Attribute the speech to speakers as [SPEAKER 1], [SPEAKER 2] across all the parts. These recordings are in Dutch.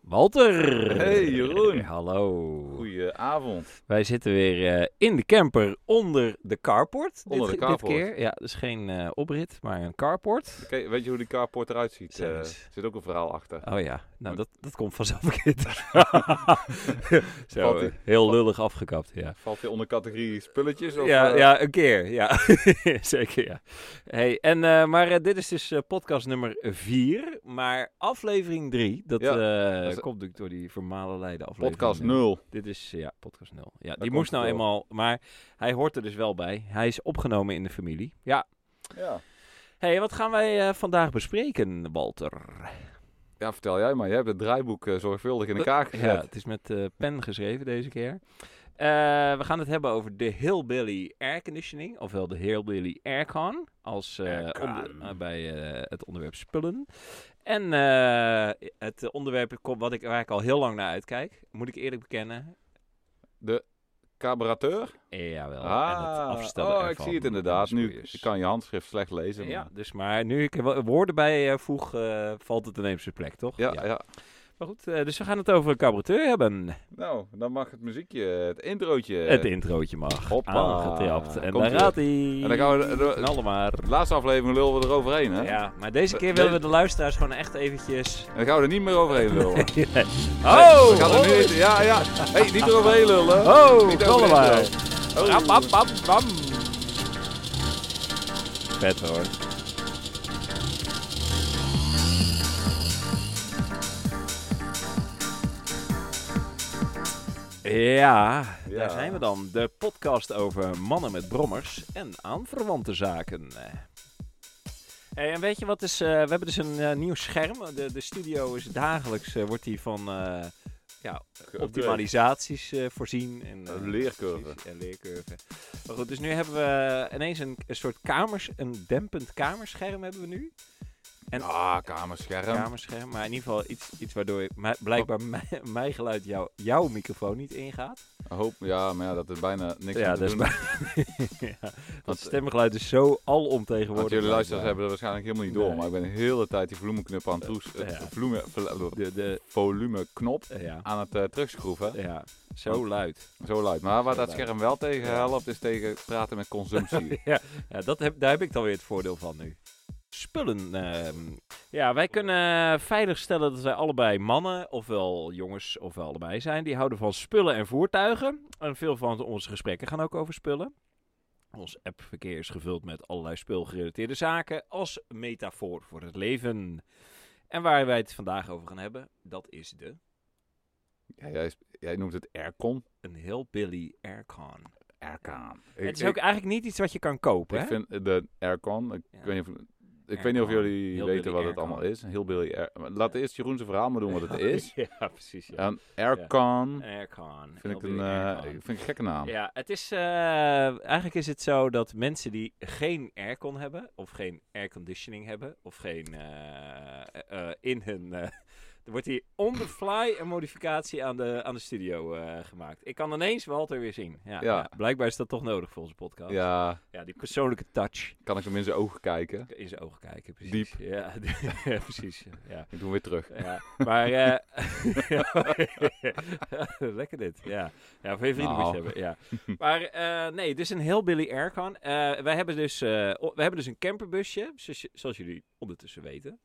[SPEAKER 1] Walter.
[SPEAKER 2] Hey, Jeroen.
[SPEAKER 1] Hallo.
[SPEAKER 2] Goedenavond.
[SPEAKER 1] Wij zitten weer eh, in de camper onder de carport.
[SPEAKER 2] Onder
[SPEAKER 1] dit,
[SPEAKER 2] de
[SPEAKER 1] dit
[SPEAKER 2] carport.
[SPEAKER 1] keer. Ja, dus geen eh, oprit, maar een carport.
[SPEAKER 2] Oké, weet je hoe die carport eruit ziet?
[SPEAKER 1] Zeg
[SPEAKER 2] Eh,
[SPEAKER 1] eens.
[SPEAKER 2] er zit ook een verhaal achter.
[SPEAKER 1] Oh ja, nou dat, dat komt vanzelf een keer. Zo,
[SPEAKER 2] Valt ie.
[SPEAKER 1] eh, heel lullig afgekapt, ja.
[SPEAKER 2] Valt hij onder categorie spulletjes? Of,
[SPEAKER 1] Ja,
[SPEAKER 2] eh,
[SPEAKER 1] ja, een keer. Ja, zeker. Ja. Hey, en, eh, maar eh, dit is dus eh, podcast nummer 4. Maar aflevering 3, dat,
[SPEAKER 2] Ja,
[SPEAKER 1] eh,
[SPEAKER 2] dat is-
[SPEAKER 1] komt natuurlijk door die vermalenleide aflevering.
[SPEAKER 2] Podcast
[SPEAKER 1] nul.
[SPEAKER 2] 0.
[SPEAKER 1] Dit is, eh, ja, podcast 0. Ja, die
[SPEAKER 2] komt
[SPEAKER 1] moest nou
[SPEAKER 2] het door.
[SPEAKER 1] eenmaal, maar hij hoort er dus wel bij. Hij is opgenomen in de familie. Ja.
[SPEAKER 2] Ja.
[SPEAKER 1] hey, wat gaan wij eh, vandaag bespreken, Walter?
[SPEAKER 2] ja, vertel jij maar. Jij hebt het draaiboek eh, zorgvuldig in elkaar gezet.
[SPEAKER 1] Ja, het is met eh, pen geschreven deze keer. Eh, we gaan het hebben over de Hillbilly Air Conditioning, ofwel de Hillbilly Aircon, als, eh,
[SPEAKER 2] Aircon.
[SPEAKER 1] onder- eh, bij eh, het onderwerp spullen. En eh, het onderwerp komt wat ik, waar ik al heel lang naar uitkijk, moet ik eerlijk bekennen.
[SPEAKER 2] Carburateur?
[SPEAKER 1] Eh, Jawel, en
[SPEAKER 2] Ah,
[SPEAKER 1] het afstellen
[SPEAKER 2] oh, ik
[SPEAKER 1] ervan,
[SPEAKER 2] zie het
[SPEAKER 1] eh,
[SPEAKER 2] inderdaad. Nu
[SPEAKER 1] boeiers.
[SPEAKER 2] ik kan je handschrift slecht lezen.
[SPEAKER 1] Ja,
[SPEAKER 2] maar-
[SPEAKER 1] dus maar nu ik er wo- woorden bij eh, voeg, eh, valt het ineens op zijn plek, toch?
[SPEAKER 2] Ja, ja.
[SPEAKER 1] Maar goed, eh, dus we gaan het over een carburateur hebben.
[SPEAKER 2] Nou, dan mag het muziekje, het introotje.
[SPEAKER 1] Het introotje mag.
[SPEAKER 2] Eh, Hoppa.
[SPEAKER 1] Aangetrapt. En
[SPEAKER 2] Komt
[SPEAKER 1] daar
[SPEAKER 2] ie.
[SPEAKER 1] gaat hij.
[SPEAKER 2] En dan gaan we... De, de-
[SPEAKER 1] Knallen maar.
[SPEAKER 2] de laatste aflevering lullen we eroverheen, hè?
[SPEAKER 1] Ja, maar deze keer
[SPEAKER 2] Eh,
[SPEAKER 1] willen we
[SPEAKER 2] deze-
[SPEAKER 1] de luisteraars gewoon echt eventjes...
[SPEAKER 2] En dan gaan we er niet meer overheen lullen.
[SPEAKER 1] Oh!
[SPEAKER 2] We gaan er nu...
[SPEAKER 1] oh,
[SPEAKER 2] in- Ja, ja. hey, niet eroverheen lullen.
[SPEAKER 1] Oh,
[SPEAKER 2] Niet
[SPEAKER 1] knallen
[SPEAKER 2] overheen
[SPEAKER 1] maar.
[SPEAKER 2] lullen. Oh.
[SPEAKER 1] Ram, bam, bam, bam. Vet hoor. Ja, daar
[SPEAKER 2] Ja.
[SPEAKER 1] zijn we dan. De podcast over mannen met brommers en aanverwante zaken. Hey, en weet je wat is... eh, we hebben dus een eh, nieuw scherm. De, de studio is dagelijks... eh, wordt die van... eh, ja, optimalisaties eh, voorzien. En, eh,
[SPEAKER 2] Een leercurve.
[SPEAKER 1] precies, En leercurven. Maar goed, dus nu hebben we ineens een, een soort kamers, een dempend kamerscherm hebben we nu. En
[SPEAKER 2] Ah, kamerscherm.
[SPEAKER 1] kamerscherm, maar in ieder geval iets, iets waardoor je, mij-
[SPEAKER 2] Oh.
[SPEAKER 1] blijkbaar mijn, mijn geluid jou, jouw microfoon niet ingaat.
[SPEAKER 2] Een hoop, ja, maar ja, dat is bijna niks
[SPEAKER 1] ja,
[SPEAKER 2] aan te
[SPEAKER 1] dat is
[SPEAKER 2] doen.
[SPEAKER 1] bij- ja, want stemgeluid is zo alomtegenwoordig.
[SPEAKER 2] Want jullie luisteraars
[SPEAKER 1] blijkbaar.
[SPEAKER 2] hebben dat waarschijnlijk helemaal niet door,
[SPEAKER 1] Nee.
[SPEAKER 2] maar ik ben de hele tijd die volumeknop aan het toes,
[SPEAKER 1] Eh, ja.
[SPEAKER 2] het volume, vol-
[SPEAKER 1] De, eh, de,
[SPEAKER 2] volumeknop
[SPEAKER 1] eh, ja,
[SPEAKER 2] aan het eh, terugschroeven.
[SPEAKER 1] ja, zo luid.
[SPEAKER 2] Zo luid. Maar waar
[SPEAKER 1] Zo
[SPEAKER 2] dat
[SPEAKER 1] luid.
[SPEAKER 2] scherm wel tegen helpt, is tegen praten met consumptie.
[SPEAKER 1] Ja, dat heb, daar heb ik dan weer het voordeel van nu. Spullen. ehm. ja, wij kunnen veilig stellen dat wij allebei mannen, ofwel jongens, ofwel allebei zijn. Die houden van spullen en voertuigen. En veel van onze gesprekken gaan ook over spullen. Ons appverkeer is gevuld met allerlei spulgerelateerde zaken als metafoor voor het leven. En waar wij het vandaag over gaan hebben, dat is de
[SPEAKER 2] ja, jij, jij noemt het aircon.
[SPEAKER 1] een heel Billy aircon.
[SPEAKER 2] Aircon.
[SPEAKER 1] het is ook eigenlijk niet iets wat je kan kopen, hè?
[SPEAKER 2] ik, vind de aircon, ik,
[SPEAKER 1] Ja.
[SPEAKER 2] weet, niet of, ik weet niet of
[SPEAKER 1] Aircon.
[SPEAKER 2] jullie
[SPEAKER 1] Heel
[SPEAKER 2] weten
[SPEAKER 1] Billy
[SPEAKER 2] wat het
[SPEAKER 1] aircon.
[SPEAKER 2] allemaal is. Een Heel Billy air, maar Laat eerst Jeroen zijn verhaal maar doen wat het is. Ehm,
[SPEAKER 1] ja, precies. Ja.
[SPEAKER 2] En aircon
[SPEAKER 1] Aircon.
[SPEAKER 2] vind ik
[SPEAKER 1] Heel
[SPEAKER 2] een,
[SPEAKER 1] Billy
[SPEAKER 2] eh,
[SPEAKER 1] aircon.
[SPEAKER 2] vind ik een gekke naam.
[SPEAKER 1] Ja, het is, eh, eigenlijk is het zo dat mensen die geen aircon hebben, of geen airconditioning hebben, of geen eh, eh, eh, in hun. eh, er wordt hier on the fly een modificatie aan de, aan de studio eh, gemaakt. Ik kan ineens Walter weer zien. Ja,
[SPEAKER 2] Ja.
[SPEAKER 1] ja, blijkbaar is dat toch nodig voor onze podcast. Ja,
[SPEAKER 2] Ja,
[SPEAKER 1] die persoonlijke touch
[SPEAKER 2] kan ik hem in zijn ogen kijken?
[SPEAKER 1] in zijn ogen kijken. Precies. Diep. Ja, ja, precies. Ja.
[SPEAKER 2] Ik doe hem weer terug.
[SPEAKER 1] Ja, maar... eh, Lekker dit, ja. Ja, voor je vrienden moet
[SPEAKER 2] Nou.
[SPEAKER 1] je hebben, ja. Maar eh, nee, dit is een heel Billy Aircon. Eh wij, hebben dus, eh, o- wij hebben dus een camperbusje, zoals, je- zoals jullie ondertussen weten.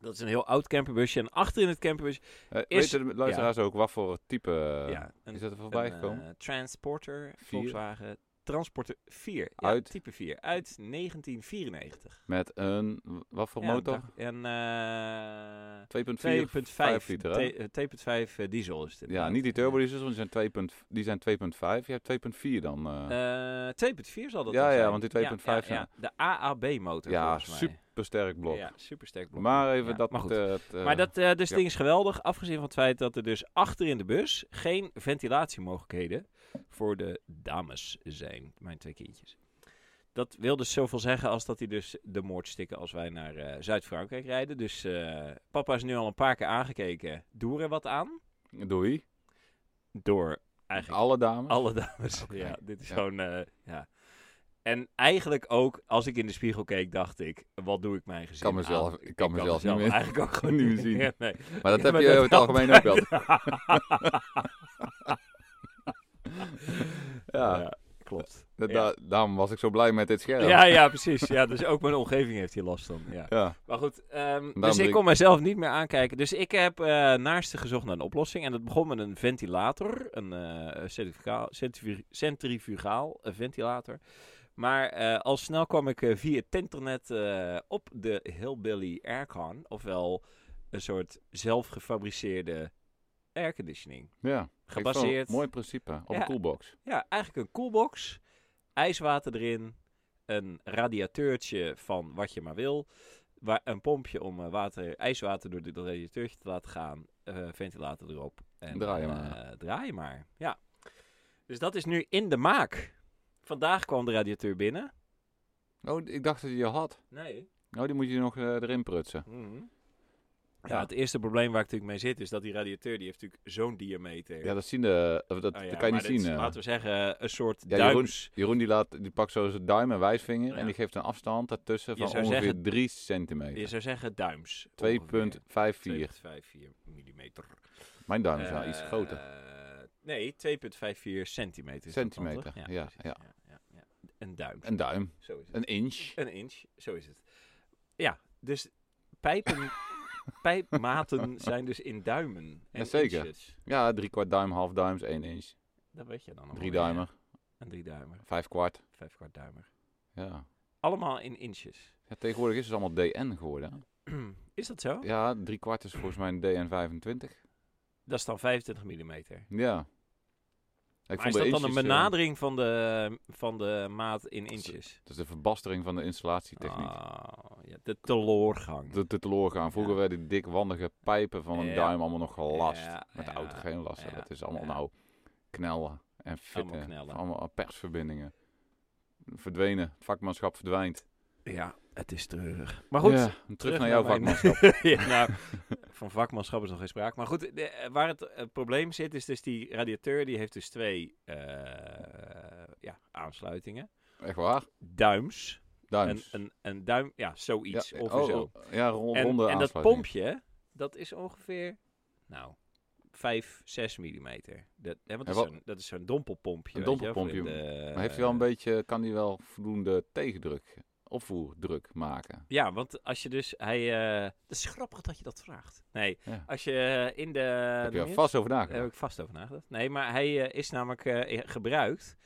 [SPEAKER 1] Dat is een heel oud camperbusje. En achter in het camperbusje...
[SPEAKER 2] Eh,
[SPEAKER 1] Is-
[SPEAKER 2] Weten de luisteraars ook wat voor type...
[SPEAKER 1] ja, een,
[SPEAKER 2] Eh, is dat er voorbij
[SPEAKER 1] een,
[SPEAKER 2] gekomen?
[SPEAKER 1] eh, transporter,
[SPEAKER 2] Vier.
[SPEAKER 1] Volkswagen... Transporter 4, ja,
[SPEAKER 2] Uit?
[SPEAKER 1] type 4, uit 1994.
[SPEAKER 2] Met een... Wat voor
[SPEAKER 1] Ja,
[SPEAKER 2] motor?
[SPEAKER 1] dag- En eh,
[SPEAKER 2] 2.4?
[SPEAKER 1] 2.5
[SPEAKER 2] liter, hè?
[SPEAKER 1] T- eh, 2.5 eh, diesel is dit.
[SPEAKER 2] Ja, niet die turbodiesels, want die zijn 2 punt- die zijn 2.5. Je hebt 2.4 dan. eh.
[SPEAKER 1] Eh, 2.4 zal dat
[SPEAKER 2] Ja,
[SPEAKER 1] dan
[SPEAKER 2] ja,
[SPEAKER 1] zijn.
[SPEAKER 2] want die 2.5
[SPEAKER 1] ja, ja. De AAB-motor
[SPEAKER 2] ja,
[SPEAKER 1] volgens mij.
[SPEAKER 2] supersterk blok.
[SPEAKER 1] Ja, supersterk blok.
[SPEAKER 2] Maar even dat...
[SPEAKER 1] Maar goed.
[SPEAKER 2] eh, het, eh,
[SPEAKER 1] maar dat eh, dus
[SPEAKER 2] ja.
[SPEAKER 1] ding is geweldig, afgezien van het feit dat er dus achter in de bus geen ventilatiemogelijkheden voor de dames zijn, mijn twee kindjes. Dat wil dus zoveel zeggen als dat die dus de moord stikken als wij naar eh, Zuid-Frankrijk rijden. Dus eh, papa is nu al een paar keer aangekeken, doe er wat aan.
[SPEAKER 2] Doei.
[SPEAKER 1] Door eigenlijk
[SPEAKER 2] Alle dames.
[SPEAKER 1] alle dames.
[SPEAKER 2] Oké.
[SPEAKER 1] Ja, dit is
[SPEAKER 2] Ja.
[SPEAKER 1] gewoon. eh, ja. En eigenlijk ook, als ik in de spiegel keek, dacht ik, wat doe ik mijn gezin
[SPEAKER 2] kan mezelf,
[SPEAKER 1] aan?
[SPEAKER 2] ik kan mezelf niet meer.
[SPEAKER 1] eigenlijk ook gewoon
[SPEAKER 2] niet
[SPEAKER 1] niet
[SPEAKER 2] meer zien.
[SPEAKER 1] Ja, nee.
[SPEAKER 2] Maar dat
[SPEAKER 1] Ja,
[SPEAKER 2] heb
[SPEAKER 1] maar
[SPEAKER 2] je
[SPEAKER 1] dat
[SPEAKER 2] over het
[SPEAKER 1] helpt
[SPEAKER 2] algemeen ook wel.
[SPEAKER 1] ja.
[SPEAKER 2] Ja,
[SPEAKER 1] klopt.
[SPEAKER 2] da-
[SPEAKER 1] Ja.
[SPEAKER 2] daarom was ik zo blij met dit scherm.
[SPEAKER 1] Ja, ja, precies. Ja, dus ook mijn omgeving heeft hier last van. Ja.
[SPEAKER 2] Ja.
[SPEAKER 1] Maar goed, ehm, dus
[SPEAKER 2] bedoel
[SPEAKER 1] ik
[SPEAKER 2] ik-
[SPEAKER 1] kon mezelf niet meer aankijken. Dus ik heb eh naast gezocht naar een oplossing. En dat begon met een ventilator. Een eh centrifugaal, centrifu- centrifugaal eh, ventilator. Maar eh, al snel kwam ik eh, via het internet eh, op de Hillbilly Aircon. Ofwel een soort zelfgefabriceerde airconditioning.
[SPEAKER 2] Ja. Ik vond het
[SPEAKER 1] Gebaseerd...
[SPEAKER 2] een Mooi principe. Op
[SPEAKER 1] Ja.
[SPEAKER 2] een coolbox.
[SPEAKER 1] Ja, eigenlijk een koelbox. IJswater erin. Een radiateurtje van wat je maar wil. Waar, een pompje om eh, water, ijswater door het radiateurtje te laten gaan. eh, ventilator erop. En,
[SPEAKER 2] Draai je maar.
[SPEAKER 1] eh, draai je maar, ja. Dus dat is nu in de maak. Vandaag kwam de radiateur binnen.
[SPEAKER 2] Oh, ik dacht dat je die al had.
[SPEAKER 1] Nee.
[SPEAKER 2] Oh, die moet je nog eh, erin prutsen.
[SPEAKER 1] Ja, Mhm. Nou, het eerste probleem waar ik natuurlijk mee zit is dat die radiateur, die heeft natuurlijk zo'n diameter.
[SPEAKER 2] Ja, dat zien de... Of dat,
[SPEAKER 1] Oh ja,
[SPEAKER 2] dat kan je
[SPEAKER 1] maar dat
[SPEAKER 2] niet
[SPEAKER 1] is,
[SPEAKER 2] zien. eh.
[SPEAKER 1] Laten we zeggen, een soort
[SPEAKER 2] Ja, Jeroen-
[SPEAKER 1] duims...
[SPEAKER 2] Jeroen die, laat, die pakt zo zijn duim en wijsvinger
[SPEAKER 1] Ja.
[SPEAKER 2] en die geeft een afstand daartussen
[SPEAKER 1] Je
[SPEAKER 2] van
[SPEAKER 1] zou
[SPEAKER 2] ongeveer
[SPEAKER 1] zeggen-
[SPEAKER 2] 3
[SPEAKER 1] Je
[SPEAKER 2] centimeter.
[SPEAKER 1] zou zeggen duims.
[SPEAKER 2] 2,54.
[SPEAKER 1] millimeter.
[SPEAKER 2] Mijn duim is, nou iets
[SPEAKER 1] Eh,
[SPEAKER 2] groter.
[SPEAKER 1] nee, 2,54 centimeter. is dat dan,
[SPEAKER 2] Centimeter,
[SPEAKER 1] toch?
[SPEAKER 2] ja,
[SPEAKER 1] precies,
[SPEAKER 2] ja.
[SPEAKER 1] ja, ja. Een duim.
[SPEAKER 2] Een duim.
[SPEAKER 1] zo is het.
[SPEAKER 2] Een inch.
[SPEAKER 1] Een inch, zo is het. Ja, dus pijpen, pijpmaten zijn dus in duimen. En
[SPEAKER 2] Jazeker.
[SPEAKER 1] inches.
[SPEAKER 2] Ja, drie kwart duim, half duims, één inch.
[SPEAKER 1] Dat weet je dan al.
[SPEAKER 2] Drie duimen,
[SPEAKER 1] Een drie duimer,
[SPEAKER 2] vijf kwart.
[SPEAKER 1] vijf kwart duimer.
[SPEAKER 2] Ja.
[SPEAKER 1] Allemaal in inches.
[SPEAKER 2] Ja, tegenwoordig is het allemaal DN geworden. hè?
[SPEAKER 1] Is dat zo?
[SPEAKER 2] Ja, drie kwart is volgens mij een DN 25.
[SPEAKER 1] Dat is dan 25 millimeter.
[SPEAKER 2] Ja. Ik
[SPEAKER 1] maar is dat dan
[SPEAKER 2] eh,
[SPEAKER 1] een benadering van de, van de maat in
[SPEAKER 2] is-
[SPEAKER 1] inches?
[SPEAKER 2] Dat is de verbastering van de installatietechniek.
[SPEAKER 1] Ah, ja, de teloorgang.
[SPEAKER 2] De te teloor gaan. Vroeger
[SPEAKER 1] Ja.
[SPEAKER 2] werden die dikwandige pijpen van een
[SPEAKER 1] Ja.
[SPEAKER 2] duim allemaal nog gelast.
[SPEAKER 1] Ja,
[SPEAKER 2] Met de
[SPEAKER 1] ja,
[SPEAKER 2] auto geen last. hè.
[SPEAKER 1] ja,
[SPEAKER 2] Dat is allemaal
[SPEAKER 1] ja.
[SPEAKER 2] nou knellen en fitten.
[SPEAKER 1] Allemaal knellen.
[SPEAKER 2] Allemaal persverbindingen. Verdwenen. Het vakmanschap verdwijnt.
[SPEAKER 1] Ja, het is treurig. Maar goed,
[SPEAKER 2] Ja, terug, naar jouw
[SPEAKER 1] mijn-
[SPEAKER 2] vakmanschap.
[SPEAKER 1] ja, nou, van vakmanschap is nog geen sprake. Maar goed, de- eh, waar het eh, probleem zit, is dus die radiateur die heeft dus twee eh, ja, aansluitingen.
[SPEAKER 2] Echt waar?
[SPEAKER 1] Duims. Een,
[SPEAKER 2] Duims.
[SPEAKER 1] een, een duim, ja, zoiets.
[SPEAKER 2] ja,
[SPEAKER 1] of
[SPEAKER 2] oh,
[SPEAKER 1] zo.
[SPEAKER 2] oh, ja, ro-
[SPEAKER 1] en,
[SPEAKER 2] ronde
[SPEAKER 1] en dat
[SPEAKER 2] aansluiting.
[SPEAKER 1] pompje, dat is ongeveer, nou, 5, 6 millimeter. Dat, hè, want dat, is
[SPEAKER 2] En wat-
[SPEAKER 1] zo'n, dat is zo'n dompelpompje.
[SPEAKER 2] Een
[SPEAKER 1] weet je wel, voor
[SPEAKER 2] dompelpompje.
[SPEAKER 1] in de-
[SPEAKER 2] Maar heeft hij wel
[SPEAKER 1] Eh.
[SPEAKER 2] een beetje, kan hij wel voldoende tegendruk, opvoerdruk maken?
[SPEAKER 1] Ja, want als je dus, hij, eh, het is grappig dat je dat vraagt. Nee,
[SPEAKER 2] Ja.
[SPEAKER 1] als je eh, in de...
[SPEAKER 2] Heb je
[SPEAKER 1] noem
[SPEAKER 2] er
[SPEAKER 1] je het?
[SPEAKER 2] vast over
[SPEAKER 1] Daar
[SPEAKER 2] nagedacht?
[SPEAKER 1] heb ik vast over nagedacht. Nee, maar hij eh, is namelijk eh, gebruikt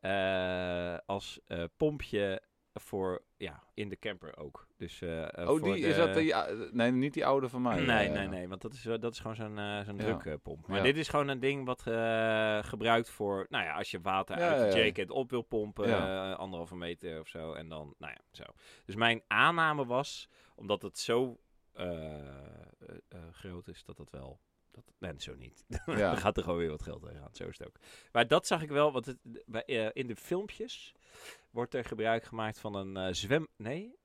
[SPEAKER 1] eh, als eh, pompje voor, ja, in de camper ook. Dus, eh, eh,
[SPEAKER 2] oh,
[SPEAKER 1] voor
[SPEAKER 2] die,
[SPEAKER 1] de-
[SPEAKER 2] is dat die, eh, nee, niet die oude van mij.
[SPEAKER 1] nee,
[SPEAKER 2] eh,
[SPEAKER 1] nee, nee, want dat is, eh, dat is gewoon zo'n eh, zo'n
[SPEAKER 2] Ja.
[SPEAKER 1] drukpomp. Maar
[SPEAKER 2] Ja.
[SPEAKER 1] dit is gewoon een ding wat eh, gebruikt voor, nou ja, als je water
[SPEAKER 2] Ja,
[SPEAKER 1] uit
[SPEAKER 2] ja,
[SPEAKER 1] de
[SPEAKER 2] ja.
[SPEAKER 1] jacket op wil pompen,
[SPEAKER 2] Ja.
[SPEAKER 1] eh, anderhalve meter of zo, en dan, nou ja, zo. Dus mijn aanname was, omdat het zo eh, eh, eh, groot is, dat dat wel, dat, nee, zo niet.
[SPEAKER 2] Ja.
[SPEAKER 1] Dan gaat er gewoon weer wat geld tegenaan, zo is het ook. Maar dat zag ik wel, want het, bij, eh, in de filmpjes wordt er gebruik gemaakt van een eh, zwem, nee,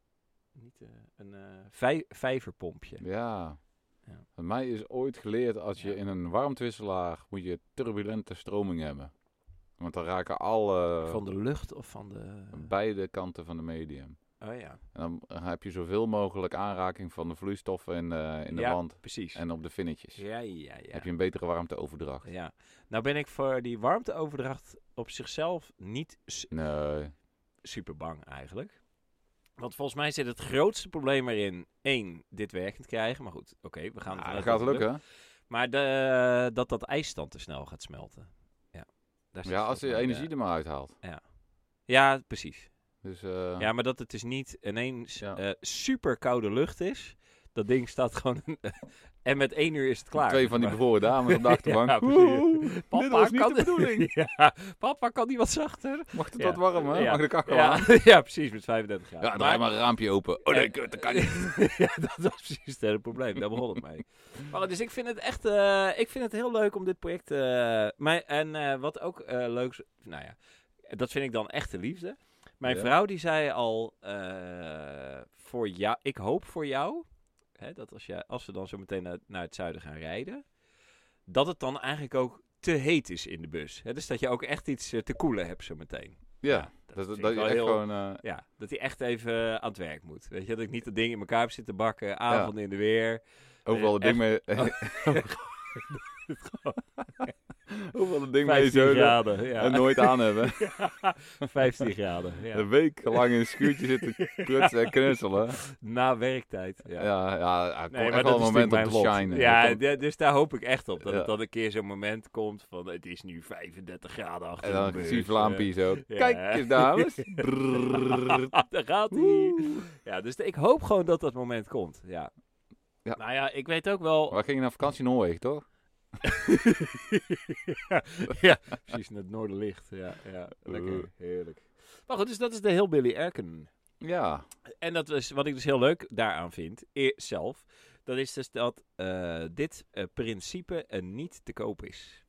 [SPEAKER 1] niet eh, een eh, vij- vijverpompje.
[SPEAKER 2] Ja.
[SPEAKER 1] Ja.
[SPEAKER 2] Bij Mij is ooit geleerd als je
[SPEAKER 1] Ja.
[SPEAKER 2] in een warmtewisselaar moet je turbulente stroming hebben. Want dan raken alle
[SPEAKER 1] Van de lucht of van de...
[SPEAKER 2] beide kanten van de medium.
[SPEAKER 1] Oh ja,
[SPEAKER 2] En dan eh, heb je zoveel mogelijk aanraking van de vloeistoffen in, eh, in de
[SPEAKER 1] Ja.
[SPEAKER 2] wand
[SPEAKER 1] precies.
[SPEAKER 2] en op de finnetjes.
[SPEAKER 1] Ja, ja, ja.
[SPEAKER 2] Heb je een betere warmteoverdracht?
[SPEAKER 1] ja. Nou ben ik voor die warmteoverdracht op zichzelf niet s-
[SPEAKER 2] Nee.
[SPEAKER 1] super bang eigenlijk. Want volgens mij zit het grootste probleem erin, één, dit werkend krijgen. Maar goed, oké, we gaan
[SPEAKER 2] Ah,
[SPEAKER 1] ervan
[SPEAKER 2] dat
[SPEAKER 1] uit
[SPEAKER 2] gaat
[SPEAKER 1] het lukt.
[SPEAKER 2] lukken.
[SPEAKER 1] Maar de, dat dat ijsstand te snel gaat smelten. Ja, Daar zit
[SPEAKER 2] Ja, als je
[SPEAKER 1] volgens mij de-
[SPEAKER 2] energie er maar uithaalt.
[SPEAKER 1] Ja, precies.
[SPEAKER 2] Dus eh,
[SPEAKER 1] Ja, maar dat het dus niet ineens
[SPEAKER 2] Ja.
[SPEAKER 1] eh, super koude lucht is. Dat ding staat gewoon... en met één uur is het klaar.
[SPEAKER 2] twee van die
[SPEAKER 1] Maar-
[SPEAKER 2] bevroren dames op de achterbank.
[SPEAKER 1] Ja, precies.
[SPEAKER 2] Woehoe, dit
[SPEAKER 1] Papa
[SPEAKER 2] was niet
[SPEAKER 1] kan
[SPEAKER 2] de bedoeling.
[SPEAKER 1] ja, papa kan die wat zachter.
[SPEAKER 2] Mag het
[SPEAKER 1] Ja.
[SPEAKER 2] wat warm, hè?
[SPEAKER 1] Ja.
[SPEAKER 2] Mag de kachel aan?
[SPEAKER 1] Ja, ja, precies, met 35 graden.
[SPEAKER 2] Ja, draai maar een raampje open. Oh nee, kut, dat kan niet.
[SPEAKER 1] ja, dat was precies het hele probleem. Daar begon het mee. Maar dus ik vind het echt eh, ik vind het heel leuk om dit project... eh mij, en eh, wat ook eh leuk... Nou ja, dat vind ik dan echt de liefde. Mijn
[SPEAKER 2] Ja.
[SPEAKER 1] vrouw die zei al... eh, voor jou, ik hoop voor jou... Hè, dat als, jij, als we dan zo meteen naar, naar het zuiden gaan rijden... Dat het dan eigenlijk ook te heet is in de bus. Hè? Dus dat je ook echt iets eh, te koelen hebt zo meteen.
[SPEAKER 2] Ja,
[SPEAKER 1] dat,
[SPEAKER 2] dat, dat,
[SPEAKER 1] vind ik
[SPEAKER 2] je
[SPEAKER 1] wel
[SPEAKER 2] echt
[SPEAKER 1] heel-
[SPEAKER 2] gewoon... eh,
[SPEAKER 1] Ja, dat hij echt even eh, aan het werk moet. Weet je, dat ik niet dat ding in elkaar heb zitten bakken, avond in de weer.
[SPEAKER 2] Overal het
[SPEAKER 1] Eh,
[SPEAKER 2] ding mee. Overal het ding mee
[SPEAKER 1] 15
[SPEAKER 2] zeulen
[SPEAKER 1] graden. Ja.
[SPEAKER 2] en nooit aan hebben.
[SPEAKER 1] 15 graden. Ja.
[SPEAKER 2] Een week lang in een schuurtje zitten prutsen en knutselen.
[SPEAKER 1] Na werktijd. Ja.
[SPEAKER 2] Ja, ja, ja er komt
[SPEAKER 1] Nee, maar
[SPEAKER 2] echt
[SPEAKER 1] dat is
[SPEAKER 2] wel
[SPEAKER 1] natuurlijk
[SPEAKER 2] een moment om
[SPEAKER 1] mijn
[SPEAKER 2] te
[SPEAKER 1] lot.
[SPEAKER 2] shinen.
[SPEAKER 1] Ja,
[SPEAKER 2] Er komt-
[SPEAKER 1] d- dus daar hoop ik echt op. Dat
[SPEAKER 2] Ja.
[SPEAKER 1] het dan een keer zo'n moment komt van het is nu 35 graden achter
[SPEAKER 2] en
[SPEAKER 1] de
[SPEAKER 2] dan
[SPEAKER 1] beurs. eh.
[SPEAKER 2] zie je Vlaampie zo.
[SPEAKER 1] ja.
[SPEAKER 2] Kijk eens, dames. Brrrr.
[SPEAKER 1] Eh, daar gaat hij. Ja, dus ik hoop gewoon dat dat moment komt. Ja.
[SPEAKER 2] Ja.
[SPEAKER 1] Nou ja, ik weet ook wel...
[SPEAKER 2] Waar ging je naar vakantie in Noorwegen, toch?
[SPEAKER 1] ja, precies, in het noorderlicht. Ja, ja, lekker. Heerlijk. Maar goed, dus dat is de heel Billy Erken.
[SPEAKER 2] Ja.
[SPEAKER 1] En dat is wat ik dus heel leuk daaraan vind, e- zelf. Dat is dus dat eh, dit eh, principe eh, niet te koop is.